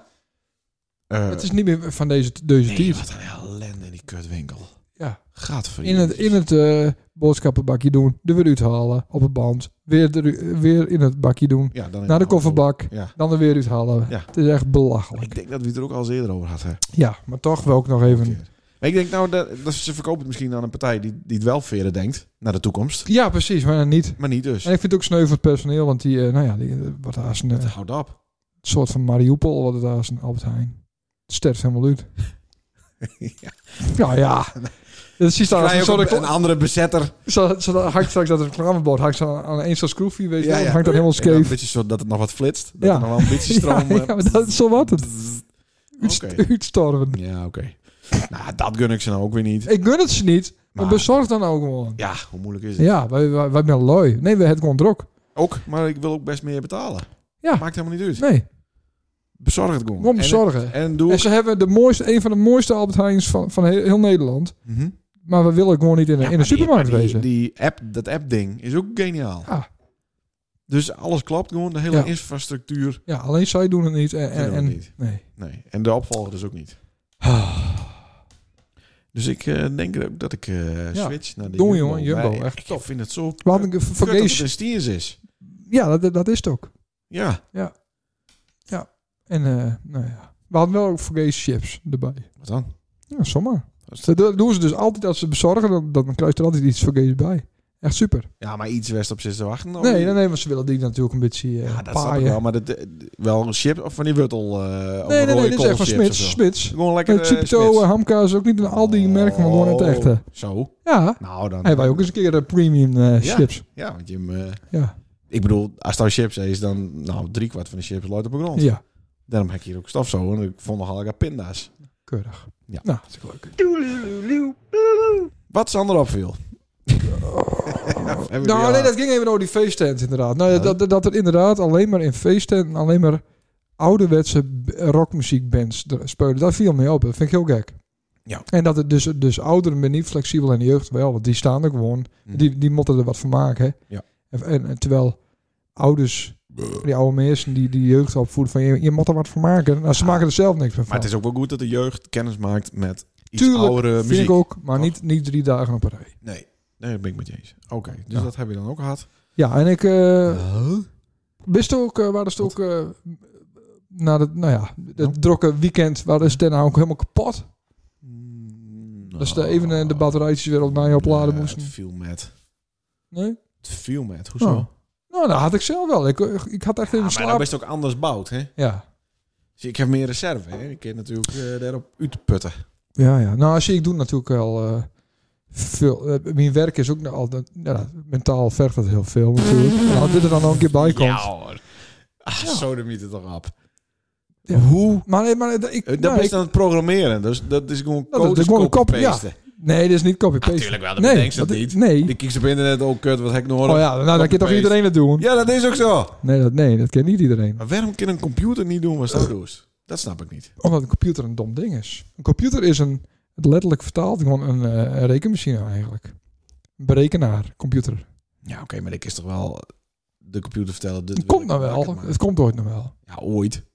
S1: eh,
S2: het is niet meer van deze, deze
S1: nee,
S2: tier.
S1: wat een ellende in die kutwinkel.
S2: Ja.
S1: Gaat
S2: In het, in het eh, boodschappenbakje doen, er weer uithalen op het band. Weer, er, weer in het bakje doen.
S1: Ja, dan in
S2: Naar de
S1: auto.
S2: kofferbak,
S1: Ja.
S2: dan er weer uithalen.
S1: Ja.
S2: Het is echt belachelijk.
S1: Oh, Ik denk dat we het er ook al eens eerder over hadden.
S2: Ja, maar toch wil ik nog even
S1: Verkeerd. Maar ik denk nou, dat, dat ze verkopen het misschien aan een partij die, die het wel verder denkt naar de toekomst.
S2: Ja, precies, maar niet.
S1: Maar niet dus.
S2: En ik vind het ook sneu voor het personeel, want die, eh, nou ja, die, eh, wat haast een eh,
S1: Houd op.
S2: soort van Mariupol, wat het haast een Albert Heijn. Het sterft helemaal uit.
S1: Ja.
S2: Nou ja. Dat is daar als
S1: Krijg
S2: een
S1: je ook
S2: soort
S1: een, een andere bezetter.
S2: Zo, zo dan hangt straks dat reclamebord hangt zo aan een zo'n schroefje, weet
S1: Ja,
S2: je wel.
S1: ja.
S2: Dan hangt dat helemaal
S1: En dan Een
S2: scheef.
S1: beetje zo dat het nog wat flitst. Dat
S2: Ja.
S1: er nog wel een beetje
S2: Ja,
S1: stroom... eh,
S2: ja, maar dat is zo wat het. Uitst-
S1: Oké.
S2: Uitstorven.
S1: Ja, oké. Nou, dat gun ik ze nou ook weer niet.
S2: Ik gun het ze niet, maar,
S1: Maar-
S2: bezorg dan ook gewoon.
S1: Ja, hoe moeilijk is het?
S2: Ja, wij, wij, wij zijn lui. Nee, we hebben gewoon druk.
S1: Ook, maar ik wil ook best meer betalen.
S2: Ja.
S1: Maakt helemaal niet uit.
S2: Nee,
S1: Bezorg het gewoon.
S2: gewoon
S1: En-
S2: bezorgen.
S1: En, doe...
S2: En ze hebben de mooiste, een van de mooiste Albert Heijn's van, van heel, heel Nederland.
S1: Mhm.
S2: Maar we willen gewoon niet in, de-
S1: Ja,
S2: in de
S1: maar die-
S2: supermarkt
S1: maar die,
S2: wezen.
S1: Die app, dat app-ding is ook geniaal.
S2: Ja.
S1: Dus alles klopt gewoon. De hele
S2: Ja.
S1: infrastructuur.
S2: Ja, alleen zij doen het niet. En,
S1: Zij
S2: en,
S1: doen
S2: en-
S1: het niet.
S2: Nee.
S1: Nee. En de opvolger dus ook niet. Dus ik eh, denk ook dat ik eh,
S2: Ja.
S1: switch naar de
S2: Doe,
S1: Jumbo.
S2: jongen, Jumbo,
S1: Maar ik-
S2: echt
S1: ik
S2: top.
S1: vind het zo...
S2: We hadden een
S1: kut dat het
S2: vergees.
S1: een Stiers is.
S2: Ja, dat, dat is het ook.
S1: Ja.
S2: En eh, nou ja. We hadden wel ook Forgees chips erbij.
S1: Wat dan?
S2: Ja, zomaar.
S1: Dat is-
S2: Dat dat doen ze dus altijd als ze bezorgen, dan, dan krijg je er altijd iets Forgees bij. Echt super.
S1: Ja, maar iets west op zit te wachten. of
S2: Nee,
S1: niet?
S2: nee, nee, want ze willen die natuurlijk een beetje
S1: Oh,
S2: eh
S1: Ja, dat snap ik
S2: paaien.
S1: wel. Maar dat, eh, wel een chip of van die wortel... eh of
S2: nee, nee, nee,
S1: rode
S2: dit is echt van
S1: koolchips of
S2: Smits.
S1: zo.
S2: Smits.
S1: Gewoon lekker
S2: Met
S1: eh,
S2: Chipto,
S1: Smits.
S2: Hamka's, ook niet een al die merken, maar gewoon het
S1: Oh,
S2: echte.
S1: Zo.
S2: Ja.
S1: Nou, dan...
S2: Hey, wij ook eens een keer de premium eh,
S1: Ja.
S2: chips.
S1: Ja, want je hem... eh,
S2: Ja.
S1: Ik bedoel, als het nou chips is, dan nou, drie kwart van de chips loopt op de grond.
S2: Ja,
S1: Daarom heb ik hier ook stof zo. En ik vond nogal lekker pinda's.
S2: keurig.
S1: Ja.
S2: Nou, dat is leuk.
S1: Wat Sander opviel. Hebben we die
S2: Nou,
S1: al-
S2: nee, dat ging even over die feesttent inderdaad. Nou, ja,
S1: Ja.
S2: dat, dat, dat er inderdaad alleen maar in feesttenten alleen maar ouderwetse b- rockmuziekbands er spelen. Dat viel mee op. Dat vind ik heel gek.
S1: Ja.
S2: En dat het dus, dus ouderen ben niet flexibel en de jeugd wel, want die staan er gewoon.
S1: Hm.
S2: Die, die moeten er wat van maken. hè.
S1: Ja.
S2: En, en, en terwijl ouders, die oude mensen die die jeugd opvoeden, van je, je moet er wat van maken. Nou, ze
S1: Ja.
S2: maken er zelf niks meer van.
S1: Maar het is ook wel goed dat de jeugd kennis maakt met iets
S2: Tuurlijk,
S1: oudere
S2: vind
S1: muziek.
S2: ik ook, maar
S1: toch?
S2: niet, niet drie dagen op een rij.
S1: Nee, nee, dat ben ik met je eens. Oké, dus
S2: Ja.
S1: dat heb je dan ook gehad.
S2: Ja, en ik... eh,
S1: Huh?
S2: Wist ook, eh, waar is het ook... eh, na het, nou ja, het
S1: Nou.
S2: drokke weekend waren ze daarna ook helemaal kapot.
S1: Mm,
S2: Dat ze daar even eh, de batterijtjes weer opnieuw opladen
S1: nee,
S2: moesten.
S1: Eh, Het viel met.
S2: Nee?
S1: Het viel met. Hoezo?
S2: Oh, Nou, dat had ik zelf wel. Ik, eh, ik had echt
S1: Ja,
S2: even
S1: maar dan
S2: slaap.
S1: best ook anders bouwd, hè?
S2: Ja.
S1: Dus ik heb meer reserve, hè? Ik kan natuurlijk eh, daarop uitputten.
S2: ja, ja. Nou, zie ik doe natuurlijk wel eh, veel. eh, mijn werk is ook nog altijd... Ja, mentaal vergt dat heel veel natuurlijk. Nou, dit er dan nog een keer bij komt.
S1: Ja hoor. Ah,
S2: Ja.
S1: Zo de het toch op.
S2: Ja.
S1: Hoe?
S2: Maar, nee, maar eh, ik,
S1: Dat
S2: nou,
S1: ben
S2: ik- Oh,
S1: je aan het programmeren. Dus dat is gewoon
S2: dat is
S1: codes
S2: gewoon een kop,
S1: copy-pasten.
S2: nee, dit is niet copy-paste.
S1: Natuurlijk wel, dat
S2: nee,
S1: bedenkt ze
S2: dat
S1: dat
S2: is-
S1: niet.
S2: Nee.
S1: Die kiest op internet ook kut, wat heb ik nog
S2: Oh ja, nou, dan kan toch
S1: Copy-paste.
S2: iedereen het doen?
S1: Ja, dat is ook zo.
S2: Nee, dat, nee, dat kan niet iedereen.
S1: Maar waarom kan een computer niet doen wat
S2: Eh.
S1: dat doet? Dat snap ik niet.
S2: Omdat een computer een dom ding is. Een computer is een, het letterlijk vertaald, gewoon een, eh, een rekenmachine eigenlijk. Een berekenaar, computer.
S1: Ja, oké, maar ik is toch wel de computer vertellen. Dit
S2: Het
S1: wil
S2: komt
S1: ik
S2: nou
S1: maken,
S2: wel.
S1: maar-
S2: Het komt ooit nog wel.
S1: Ja, ooit.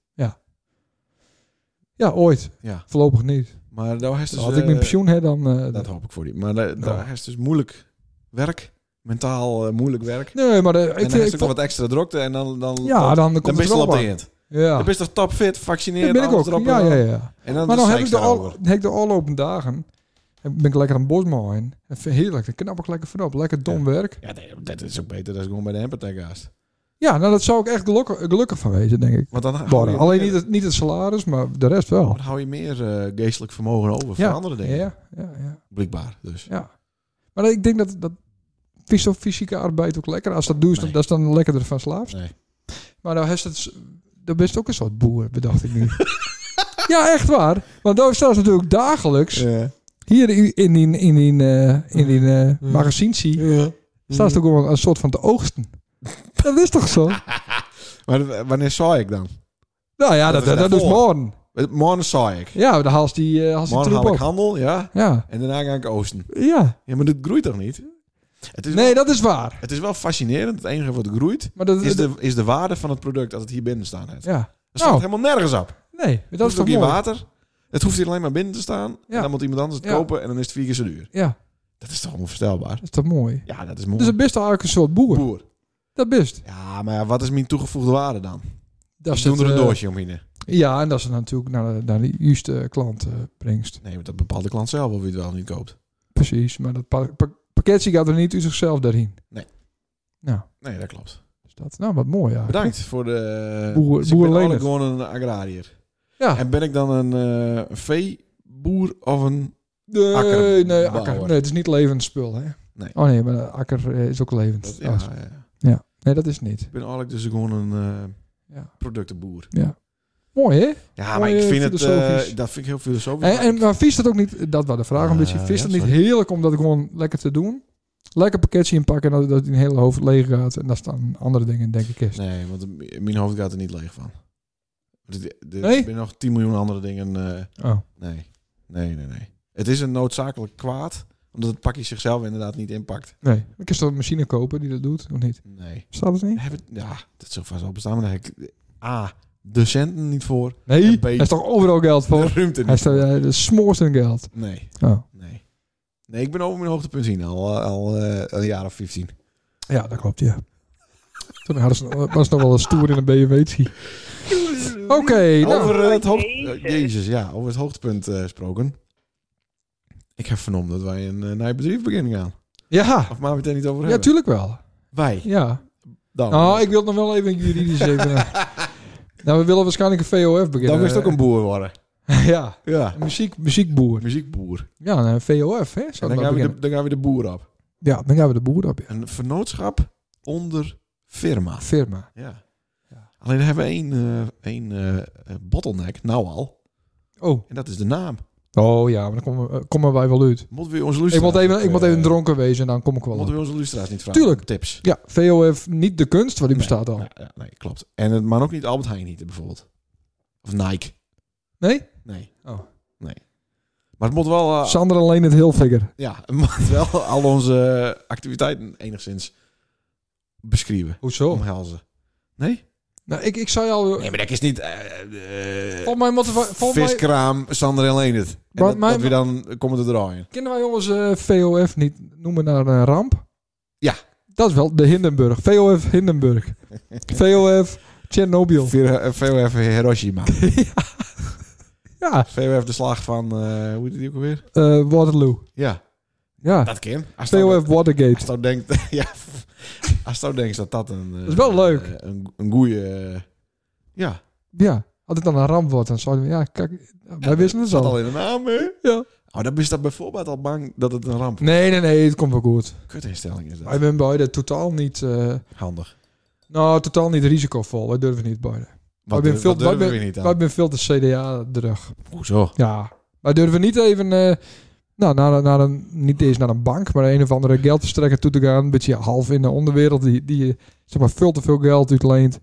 S2: Ja, ooit.
S1: Ja.
S2: Voorlopig niet.
S1: Maar daar is dus...
S2: Als ik mijn
S1: eh,
S2: pensioen heb, dan... eh,
S1: Dat hoop ik voor die. Maar daar, daar
S2: Nou.
S1: is dus moeilijk werk. Mentaal eh, moeilijk werk.
S2: nee, maar eh,
S1: en
S2: ik,
S1: dan
S2: ik,
S1: is ook nog wat extra drokte en dan... dan
S2: Ja, dan komt
S1: dan ben
S2: het
S1: je al
S2: wel
S1: op de
S2: bij.
S1: end.
S2: Ja,
S1: Dan
S2: dat
S1: ben je toch topfit, vaccineerd,
S2: ben ik
S1: alles
S2: ook.
S1: erop en
S2: Ja,
S1: eraan.
S2: ja, ja.
S1: En dan
S2: Maar dan heb
S1: ik
S2: ik de, al,
S1: daarover.
S2: heb ik de allopen dagen... heb- Ben ik lekker aan bosma in. En vind ik Heerlijk, dan knap ik lekker vanop. Lekker dom
S1: Ja.
S2: werk.
S1: Ja, nee, dat is ook beter dan gewoon bij de Hempertag haast.
S2: Ja, nou dat zou ik echt gelukkig, gelukkig van wezen, denk ik.
S1: Want dan hou
S2: Worden.
S1: je,
S2: Alleen
S1: meer,
S2: niet het, niet het salaris, maar de rest wel.
S1: dan hou je meer eh, geestelijk vermogen over voor andere dingen.
S2: Ja, ja, ja,
S1: Blijkbaar dus.
S2: ja. Maar ik denk dat, dat fysio- fysieke arbeid ook lekker. Als dat doe, dan
S1: Nee.
S2: dat is dan lekkerder van slaafs.
S1: Nee.
S2: Maar nou is het, dat best ook een soort boer, bedacht ik nu. ja, echt waar. Want daar staat natuurlijk dagelijks hier in die, in die, eh, in die eh, magazijntje staat ze ook gewoon een soort van te oogsten. Dat is toch zo?
S1: Maar w- wanneer zou ik dan?
S2: Nou ja,
S1: Dat
S2: dat,
S1: is
S2: dat, dat is
S1: daarvoor.
S2: morgen.
S1: Eh, Morgen zou ik.
S2: Ja, dan haalt die, eh, haalt die
S1: Morgen
S2: troep
S1: haal ik
S2: op.
S1: handel, ja.
S2: Ja,
S1: En daarna ga ik oosten.
S2: ja.
S1: Ja, maar dat groeit toch niet? Het is,
S2: Nee,
S1: wel,
S2: dat is waar.
S1: het is wel fascinerend. Het enige wat groeit
S2: Maar dat,
S1: is de, is de waarde van het product dat het hier binnen staan heeft.
S2: Ja.
S1: Dat staat
S2: Nou.
S1: helemaal nergens op.
S2: Nee, dat is
S1: hoeft
S2: toch
S1: ook geen
S2: mooi?
S1: water. Het hoeft hier alleen maar binnen te staan.
S2: Ja.
S1: En dan moet iemand anders het
S2: Ja.
S1: kopen en dan is het vier keer zo duur.
S2: Ja,
S1: Dat is toch onvoorstelbaar?
S2: dat is toch mooi.
S1: Ja, dat is mooi.
S2: Dus het best eigenlijk een soort boer.
S1: boer.
S2: Dat best.
S1: Ja, maar ja, wat is mijn toegevoegde waarde dan?
S2: Dat
S1: ik doe er een
S2: eh,
S1: doosje omheen.
S2: Ja, en dat ze dan natuurlijk naar de, naar de juiste klant eh brengt.
S1: Nee, want dat bepaalt de klant zelf of wie het wel of niet koopt.
S2: Precies, maar dat pa- pa- pakketje gaat er niet uit zichzelf daarheen.
S1: Nee, dat klopt.
S2: Dus dat, nou, wat mooi ja.
S1: Bedankt voor de...
S2: Boer-
S1: dus ik ben
S2: boer Leendert.
S1: eigenlijk gewoon een agrariër.
S2: Ja.
S1: En ben ik dan een eh, veeboer of een...
S2: Nee,
S1: Akker.
S2: nee,
S1: Bouwer.
S2: akker. nee, het is niet levend spul, hè?
S1: Nee.
S2: Oh nee, maar de akker eh, is ook levend.
S1: Dat, ja,
S2: Oh,
S1: ja.
S2: Nee, dat is niet.
S1: Ik ben eigenlijk dus gewoon een eh,
S2: Ja.
S1: productenboer.
S2: Mooi, hè?
S1: Ja, maar
S2: Mooi,
S1: ik
S2: eh,
S1: vind het...
S2: filosofisch.
S1: eh, dat vind ik heel filosofisch.
S2: En,
S1: maar
S2: en
S1: ik-
S2: maar vies dat ook niet, dat was de vraag een
S1: Ah,
S2: beetje, vies dat
S1: ja,
S2: niet heerlijk om dat gewoon lekker te doen? Lekker pakketje inpakken en dat, dat een hele hoofd leeg gaat en daar staan andere dingen in, denk ik, is.
S1: Nee, want m- mijn hoofd gaat er niet leeg van. Want het- de-
S2: Nee?
S1: Er zijn nog 10 miljoen andere dingen. eh,
S2: Oh.
S1: nee. nee, nee, nee. Het is een noodzakelijk kwaad, omdat het pakje zichzelf inderdaad niet inpakt.
S2: Nee, ik kan toch een machine kopen die dat doet, of niet?
S1: Nee.
S2: Staat het niet?
S1: Heb het, ja, dat zou vast wel bestaan, maar daar heb ik A, de centen niet voor,
S2: Nee,
S1: Een
S2: er
S1: beetje.
S2: is toch overal geld
S1: de
S2: voor?
S1: ruimte niet
S2: Hij is toch,
S1: voor.
S2: eh, de smoorst in geld.
S1: Nee,
S2: Oh.
S1: nee. Nee, ik ben over mijn hoogtepunt zien al, eh, al eh, een jaar of 15.
S2: Ja, dat klopt, ja. Toen hadden ze, was het nog wel een stoer in een BMW. Oké, nou.
S1: over eh, het hoogte-
S5: Jezus.
S1: eh, Jezus, ja, over het hoogtepunt eh, gesproken. Ik heb vernomen dat wij een eh, nieuw bedrijf beginnen gaan.
S2: Ja,
S1: Of maar we het er niet over
S2: ja,
S1: hebben.
S2: tuurlijk wel.
S1: wij.
S2: Ja.
S1: Dan.
S2: Nou, ik wil het nog wel even juridisch even... eh. nou, we willen waarschijnlijk een VOF beginnen.
S1: Dan wist ook een boer worden.
S2: ja,
S1: Ja.
S2: een muziek, muziekboer.
S1: Muziekboer.
S2: Ja, een eh, VOF, hè.
S1: En
S2: Zou
S1: dan gaan,
S2: het maar
S1: we
S2: beginnen.
S1: de, dan gaan we de boer op.
S2: Ja, dan gaan we de boer op, ja. Ah,
S1: Een vernootschap onder firma.
S2: Firma.
S1: Ja.
S2: Ja.
S1: Alleen daar hebben we één, eh, één eh, eh, bottleneck, nou al.
S2: Oh.
S1: En dat is de naam.
S2: Oh ja, maar dan komen, we- eh, komen wij wel uit.
S1: Moeten we onze
S2: Ik
S1: luisteraars...
S2: moet even, ik moet even
S1: eh,
S2: dronken wezen en dan kom ik wel
S1: Moeten
S2: op.
S1: we onze luisteraars niet vragen?
S2: Tuurlijk.
S1: Tips.
S2: Ja, VOF, niet de kunst, want die bestaat al.
S1: Nee, ja, nee, klopt. En het, maar ook niet Albert Heijn niet, bijvoorbeeld. Of Nike.
S2: Nee?
S1: Nee.
S2: Oh.
S1: Nee. Maar het moet wel... eh,
S2: Sander alleen het heel
S1: ja, het moet wel al onze eh, activiteiten enigszins beschrijven.
S2: Hoezo?
S1: Omhelzen. Nee?
S2: Nou, ik, ik zou je al...
S1: Nee, maar dat is niet... eh, eh,
S2: Volgens mij moeten we... Volgens mij
S1: viskraam, Sander en Leendert. En
S2: Maar
S1: dat,
S2: mijn-
S1: dat we dan komen te draaien.
S2: Kennen wij jongens eh, VOF niet noemen naar een ramp?
S1: Ja.
S2: Dat is wel de Hindenburg. VOF Hindenburg. VOF Tsjernobyl.
S1: Vier- eh, VOF Hiroshima.
S2: Ja,
S1: VOF de slag van... eh, hoe heet die ook alweer?
S2: eh, Waterloo.
S1: Ja,
S2: Ja,
S1: dat kan. Als nou-
S2: VOF Watergate.
S1: Als nou denkt... ja, als nou denkt dat dat een... eh,
S2: Dat is wel leuk.
S1: eh, een, een goeie... eh, ja.
S2: Ja, als het dan een ramp wordt, dan zouden we... Ja, kijk, wij wisten het
S1: Zat al
S2: al.
S1: in de naam, hè?
S2: Ja.
S1: Oh, dan is dat bijvoorbeeld al bang dat het een ramp...
S2: Nee, nee, nee, het komt wel goed.
S1: Kutinstelling is
S2: Wij
S1: dat.
S2: zijn beide totaal niet... eh,
S1: Handig.
S2: nou, totaal niet risicovol. Wij durven niet beide.
S1: Wat,
S2: ben
S1: durf-
S2: veel-
S1: eh, wat durven
S2: wij
S1: we weer niet aan?
S2: Wij zijn veel te CDA-drug.
S1: Hoezo?
S2: Ja, maar durven niet even eh, nou, naar, naar een, niet eens naar een bank, maar een of andere geldverstrekker toe te gaan. Een beetje half in de onderwereld die, die je, zeg maar, veel te veel geld uitleent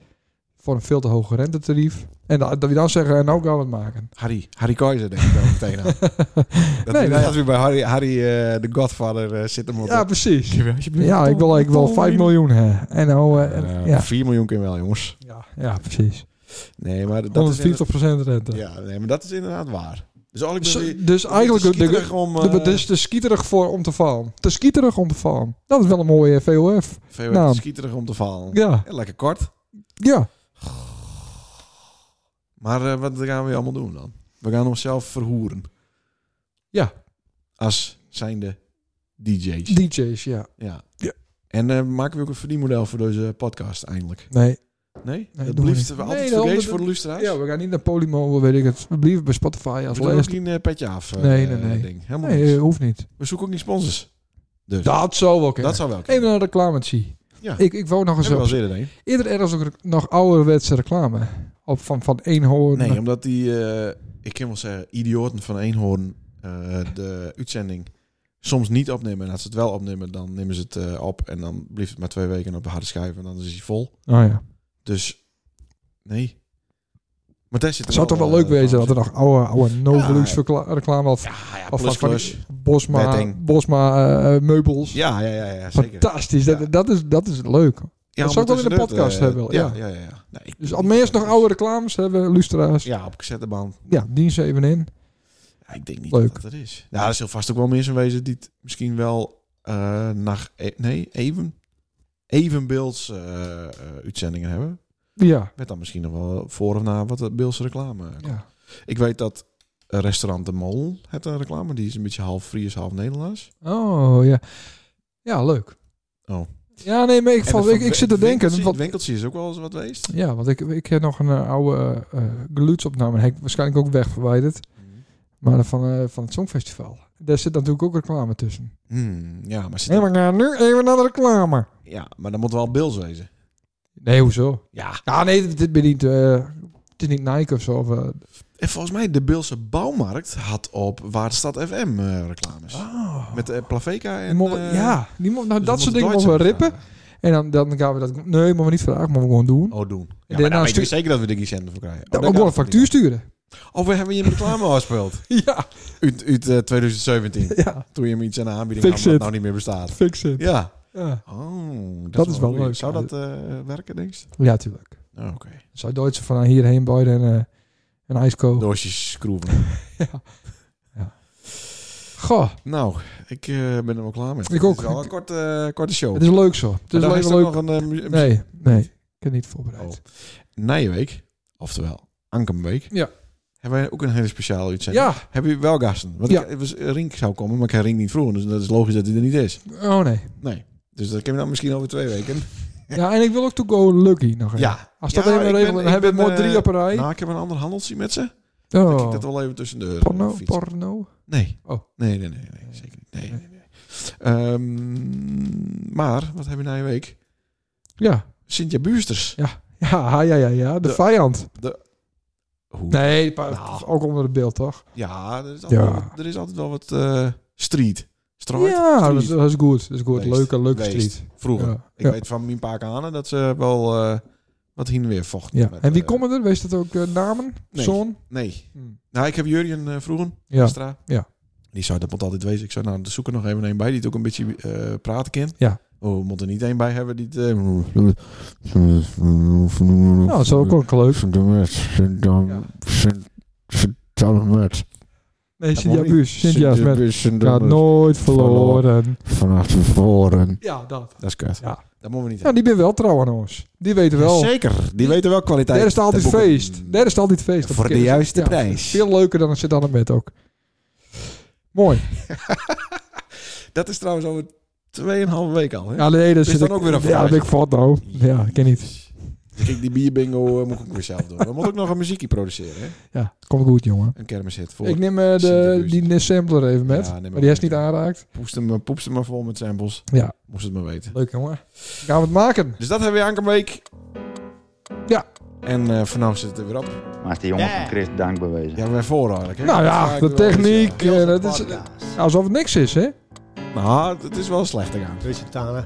S2: voor een veel te hoge rentetarief. En da- dat we dan zeggen, en nou gaan we het maken.
S1: Harry, Harry Keizer denk ik wel meteen aan. Dat,
S2: Nee,
S1: we-
S2: nou ja.
S1: dat we bij Harry, Harry eh, de Godfather eh, zitten. maar op-
S2: Ja, precies.
S1: Alsjeblieft, alsjeblieft.
S2: Ja, ik wil eigenlijk wel 5 miljoen hè. En nou, eh, en-
S1: Eh,
S2: ja.
S1: 4 miljoen kan wel, jongens.
S2: Ja, ja, precies. 140%
S1: Nee, maar dat is
S2: rente.
S1: inderdaad, ja, nee, maar dat is inderdaad waar. Dus eigenlijk ben
S2: Dus,
S1: je
S2: dus eigenlijk
S1: te
S2: de, de,
S1: skieterig om eh,
S2: de, dus te skieterig voor om te vallen. Te skieterig om te vallen. Dat is wel een mooie eh, VOF.
S1: veel
S2: nou.
S1: schieterig om te vallen.
S2: Ja,
S1: Ja, lekker kort.
S2: ja.
S1: Maar eh, wat gaan we allemaal doen dan? We gaan onszelf verhoeren.
S2: Ja.
S1: Als zijnde DJ's.
S2: DJ's, ja.
S1: ja.
S2: Ja.
S1: En eh, maken we ook een verdienmodel voor deze podcast eindelijk?
S2: Nee,
S1: Nee?
S2: Nee,
S1: dat
S2: doen we
S1: blijft we
S2: niet.
S1: altijd
S2: Nee, dan-
S1: vergeten
S2: dat-
S1: voor de luisteraars.
S2: Ja, we gaan niet naar Polymo, weet ik het. We blijven bij Spotify als
S1: we doen ook
S2: laatste.
S1: geen eh, petje af eh,
S2: Nee, nee, nee.
S1: ding. Helemaal
S2: Nee, eh,
S1: niks.
S2: hoeft niet.
S1: We zoeken ook niet sponsors. Dus dat,
S2: Dat zou wel kunnen.
S1: zou wel kunnen.
S2: Even een reclametje.
S1: Ja.
S2: Ik, ik wou nog eens
S1: Hebben we
S2: op.
S1: al eerder een?
S2: Eerder ergens ook rec- nog ouderwetse reclame. Op van, van Oh Eenhoorn.
S1: Nee, omdat die, eh, ik kan wel zeggen, idioten van Eenhoorn eh, de uitzending soms niet opnemen. En als ze het wel opnemen, dan nemen ze het eh, op. En dan blijft het maar twee weken op de harde schijf. En dan is hij vol.
S2: Oh ja.
S1: Dus, nee. Maar daar zit er
S2: Het zou toch wel
S1: eh,
S2: leuk wezen dat
S1: trouwens.
S2: er nog oude, oude Novelux verkla- reclame of,
S1: Ja, ja,
S2: of
S1: plus,
S2: van
S1: plus.
S2: die Bosma,
S1: Bedding.
S2: Bosma eh, eh, meubels.
S1: Ja, ja, ja, ja, zeker.
S2: Fantastisch.
S1: Ja.
S2: Dat, dat, is, dat is leuk.
S1: Ja,
S2: dat zou ik wel in de
S1: ondertussen
S2: podcast
S1: dit, eh,
S2: hebben.
S1: Ja,
S2: Ja.
S1: ja, ja. ja. Nee, ik-
S2: Dus al mensen nog oude reclames hebben, lustra's. Ja,
S1: Ja, op cassetteband.
S2: dien ze even in.
S1: Ja, ik denk niet
S2: Leuk.
S1: dat dat er is. Nou, er zullen vast ook wel mensen wezen die het misschien wel e-, eh naar... nee, even... Evenbeelds eh, eh, uitzendingen hebben.
S2: Ja.
S1: Werd dan misschien nog wel voor of na wat de Beelse reclame.
S2: ja.
S1: Ik weet dat restaurant De Mol heeft een reclame. Die is een beetje half Fries, half Nederlands.
S2: Oh, ja. Ja, leuk.
S1: Oh.
S2: Ja, nee, maar ik, val, ik, ik zit te denken.
S1: Het
S2: Wat,
S1: winkeltje is ook wel eens wat geweest.
S2: ja, want ik, ik heb nog een eh, oude eh eh, geluidsopname. Heb ik waarschijnlijk ook wegverwijderd. Maar dan van, eh, van het Songfestival. Daar zit natuurlijk ook reclame tussen.
S1: Hmm, ja, maar zit
S2: Hé, maar ga nu even naar de reclame.
S1: ja, maar dan moet wel Beels wezen.
S2: Nee, hoezo?
S1: Ja.
S2: Ja, nee, dit, dit ben niet... eh, het is niet Nike of zo. Of, eh,
S1: En volgens mij, de Beelse bouwmarkt had op Waardstad FM eh, reclames. Met eh Plaveca
S2: Die
S1: en...
S2: mogen-
S1: eh,
S2: Ah. ja, die mo- nou,
S1: dus
S2: dat
S1: we
S2: soort
S1: moeten
S2: dingen mogen we
S1: Duitsers
S2: rippen.
S1: vragen.
S2: En dan, dan gaan we dat... Nee, mogen we niet vragen, maar we gewoon doen.
S1: Oh, doen. Ja,
S2: daarna
S1: maar dan weet
S2: stuur-
S1: ik zeker dat we Dickie centen voor krijgen. Oh,
S2: nou, Dan
S1: daar
S2: ook wel een
S1: gaat het
S2: factuur sturen.
S1: niet. Oh, we hebben hier een reclame afgespeeld.
S2: ja,
S1: Uit, uit eh, 2017.
S2: ja,
S1: Toen je hem iets aan de aanbieding had
S2: Fix
S1: wat
S2: it.
S1: nou niet meer bestaat.
S2: fix it.
S1: Ja.
S2: Ja,
S1: Oh, dat,
S2: Dat
S1: is
S2: is
S1: wel
S2: wel
S1: leuk.
S2: leuk.
S1: Zou dat eh, werken, denk je?
S2: ja tuurlijk.
S1: Oh, Oké.
S2: Zou Duitse van hierheen eh, buiten een, een ijskoop.
S1: Doosjes schroeven.
S2: Goh,
S1: nou, ik eh, ben er wel klaar mee.
S2: Ik ook.
S1: Het is wel een korte, eh, korte show.
S2: het is leuk zo. Het is
S1: Maar daar
S2: alleen
S1: is
S2: maar
S1: ook
S2: leuk.
S1: nog een Oh, eh, mu- muziek-
S2: Nee, nee, ik heb niet voorbereid.
S1: Nijenweek, oftewel Ankenweek.
S2: Ja.
S1: Hebben wij ook een hele speciale uitzending.
S2: Ja,
S1: Hebben jullie wel gasten? Want
S2: Ja.
S1: ik, het was, Rink zou komen, maar ik heb Rink niet vroegen. Dus dat is logisch dat hij er niet is.
S2: oh nee.
S1: Nee. Dus dat kunnen we dan misschien over twee weken.
S2: Ja, en ik wil ook To Go Lucky nog even.
S1: Ja.
S2: Als dat
S1: Ja,
S2: even
S1: ik ben-
S2: regelen,
S1: ik
S2: dan hebben we
S1: ben,
S2: mooi drie
S1: eh,
S2: op een rij.
S1: Nou, ik heb een ander handeltje met ze. Dan kijk
S2: oh,
S1: ik dat wel even tussen de
S2: porno,
S1: fiets.
S2: porno.
S1: Nee.
S2: Oh.
S1: Nee, nee, nee, nee, zeker niet. Nee, nee, nee. Ehm, maar, wat heb je na je week?
S2: Ja.
S1: Cynthia Buursters.
S2: Ja, ja, ja, ja. De,
S1: De-
S2: vijand.
S1: Hoe?
S2: Nee, pa-
S1: Nou.
S2: ook onder het beeld, toch?
S1: Ja, er is altijd,
S2: Ja.
S1: Wel, wat- er is altijd wel wat eh, street. Strijd?
S2: ja,
S1: Street.
S2: dat is, dat is goed. Dat is goed.
S1: Weest.
S2: Leuke, leuke
S1: Weest.
S2: street.
S1: Vroeger.
S2: Ja,
S1: Ik
S2: ja.
S1: weet van mijn paar kanen dat ze wel eh, wat heen en weer vochten.
S2: Ja.
S1: met,
S2: En wie
S1: eh,
S2: komen er? Wees dat ook eh, namen?
S1: Nee.
S2: Zoon?
S1: Nee.
S2: Hm.
S1: Nou, ik heb Jurjen eh vroegen.
S2: Ja.
S1: Extra.
S2: Ja.
S1: Die zou dat moet altijd wezen. Ik zou nou de zoeken nog even een bij die het ook een beetje eh, praten kan.
S2: Ja.
S1: Oh, we moeten er niet één bij hebben die het... eh,
S2: Nou, dat is ook
S1: Hm.
S2: wel leuk. Nee, Cynthia
S1: mooi.
S2: Buus. Cynthia is met. Gaat nooit verloren.
S5: Vanaf tevoren.
S2: Ja, dat.
S1: Dat is kut.
S2: Ja.
S1: Dat moeten we niet
S2: Ja, die ben wel trouw aan ons. Die weten wel.
S1: Zeker. Die weten wel kwaliteit.
S2: Daar is het altijd
S1: te boeken.
S2: feest. Daar is het altijd feest. Dat
S1: Voor de
S2: is-
S1: juiste
S2: ja,
S1: prijs.
S2: Veel leuker dan een zit aan het bed ook. Mooi.
S1: Dat is trouwens over 2,5 weken al. Hè?
S2: Ja, nee, dat
S1: Is
S2: zit
S1: dan
S2: ik-
S1: ook weer een
S2: Ja,
S1: vraag.
S2: dat ben ik voor nou. Ja, ik ken niet.
S1: Kijk, die bierbingo eh, moet ik ook weer zelf doen. We moeten ook nog een muziekje produceren. Hè?
S2: Ja, komt goed, jongen.
S1: Een kermishit voor.
S2: Ik neem eh,
S1: Cynthia
S2: de,
S1: Buus.
S2: die sampler even met.
S1: Ja, neem
S2: maar
S1: maar
S2: die is
S1: mee,
S2: niet
S1: ja.
S2: aanraakt.
S1: Poest hem, poep ze maar vol met samples.
S2: Ja,
S1: Moest het maar weten.
S2: leuk jongen. Gaan we het maken.
S1: Dus dat hebben we aankomende week.
S2: Ja.
S1: En eh voor nu zit het er weer op.
S6: Maar is die jongen
S3: Ja.
S6: van Chris dank bewezen.
S1: Ja, weer voor eigenlijk. Hè?
S2: Nou
S1: Dat
S2: ja,
S1: is
S2: de
S1: eigenlijk wel iets,
S2: techniek. eh,
S3: Beelse
S2: dat is
S3: podcast.
S2: alsof het niks is, hè?
S1: ja. Nou, het is wel slecht gegaan.
S3: Rusje Tana.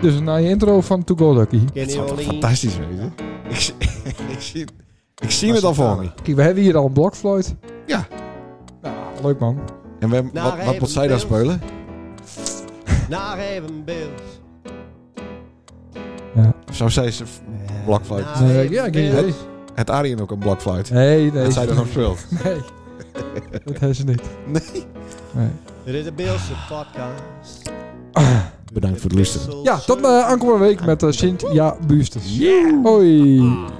S2: Dus na je intro van To Go Lucky.
S1: Het
S3: Kenny
S1: zou toch
S3: Olin.
S1: fantastisch wezen? Ik, zie- ik zie, ik
S2: Nou,
S1: zie het al voor me.
S2: Kijk, we hebben hier al een blokfluit.
S1: Ja.
S2: Nou, leuk man.
S1: En we,
S3: Nou,
S1: wat, wat
S3: even
S1: moet zij dan
S3: beeld.
S1: spelen?
S3: Naar even beeld.
S1: Of zou zij ze blokfluit?
S3: Naar
S2: Eh,
S3: even
S2: ja, ik denk
S3: beeld.
S2: nee.
S1: Het Arjen ook een blokfluit?
S2: Nee, nee.
S1: Dat zij dan nog speelt.
S2: Nee. Dat hebben ze niet.
S1: Nee.
S2: Nee.
S3: Dit is de Beelse podcast.
S1: Bedankt voor het luisteren.
S2: eh, Ja, tot eh aankomende week met eh Sint-Ja Buusters. Hoi.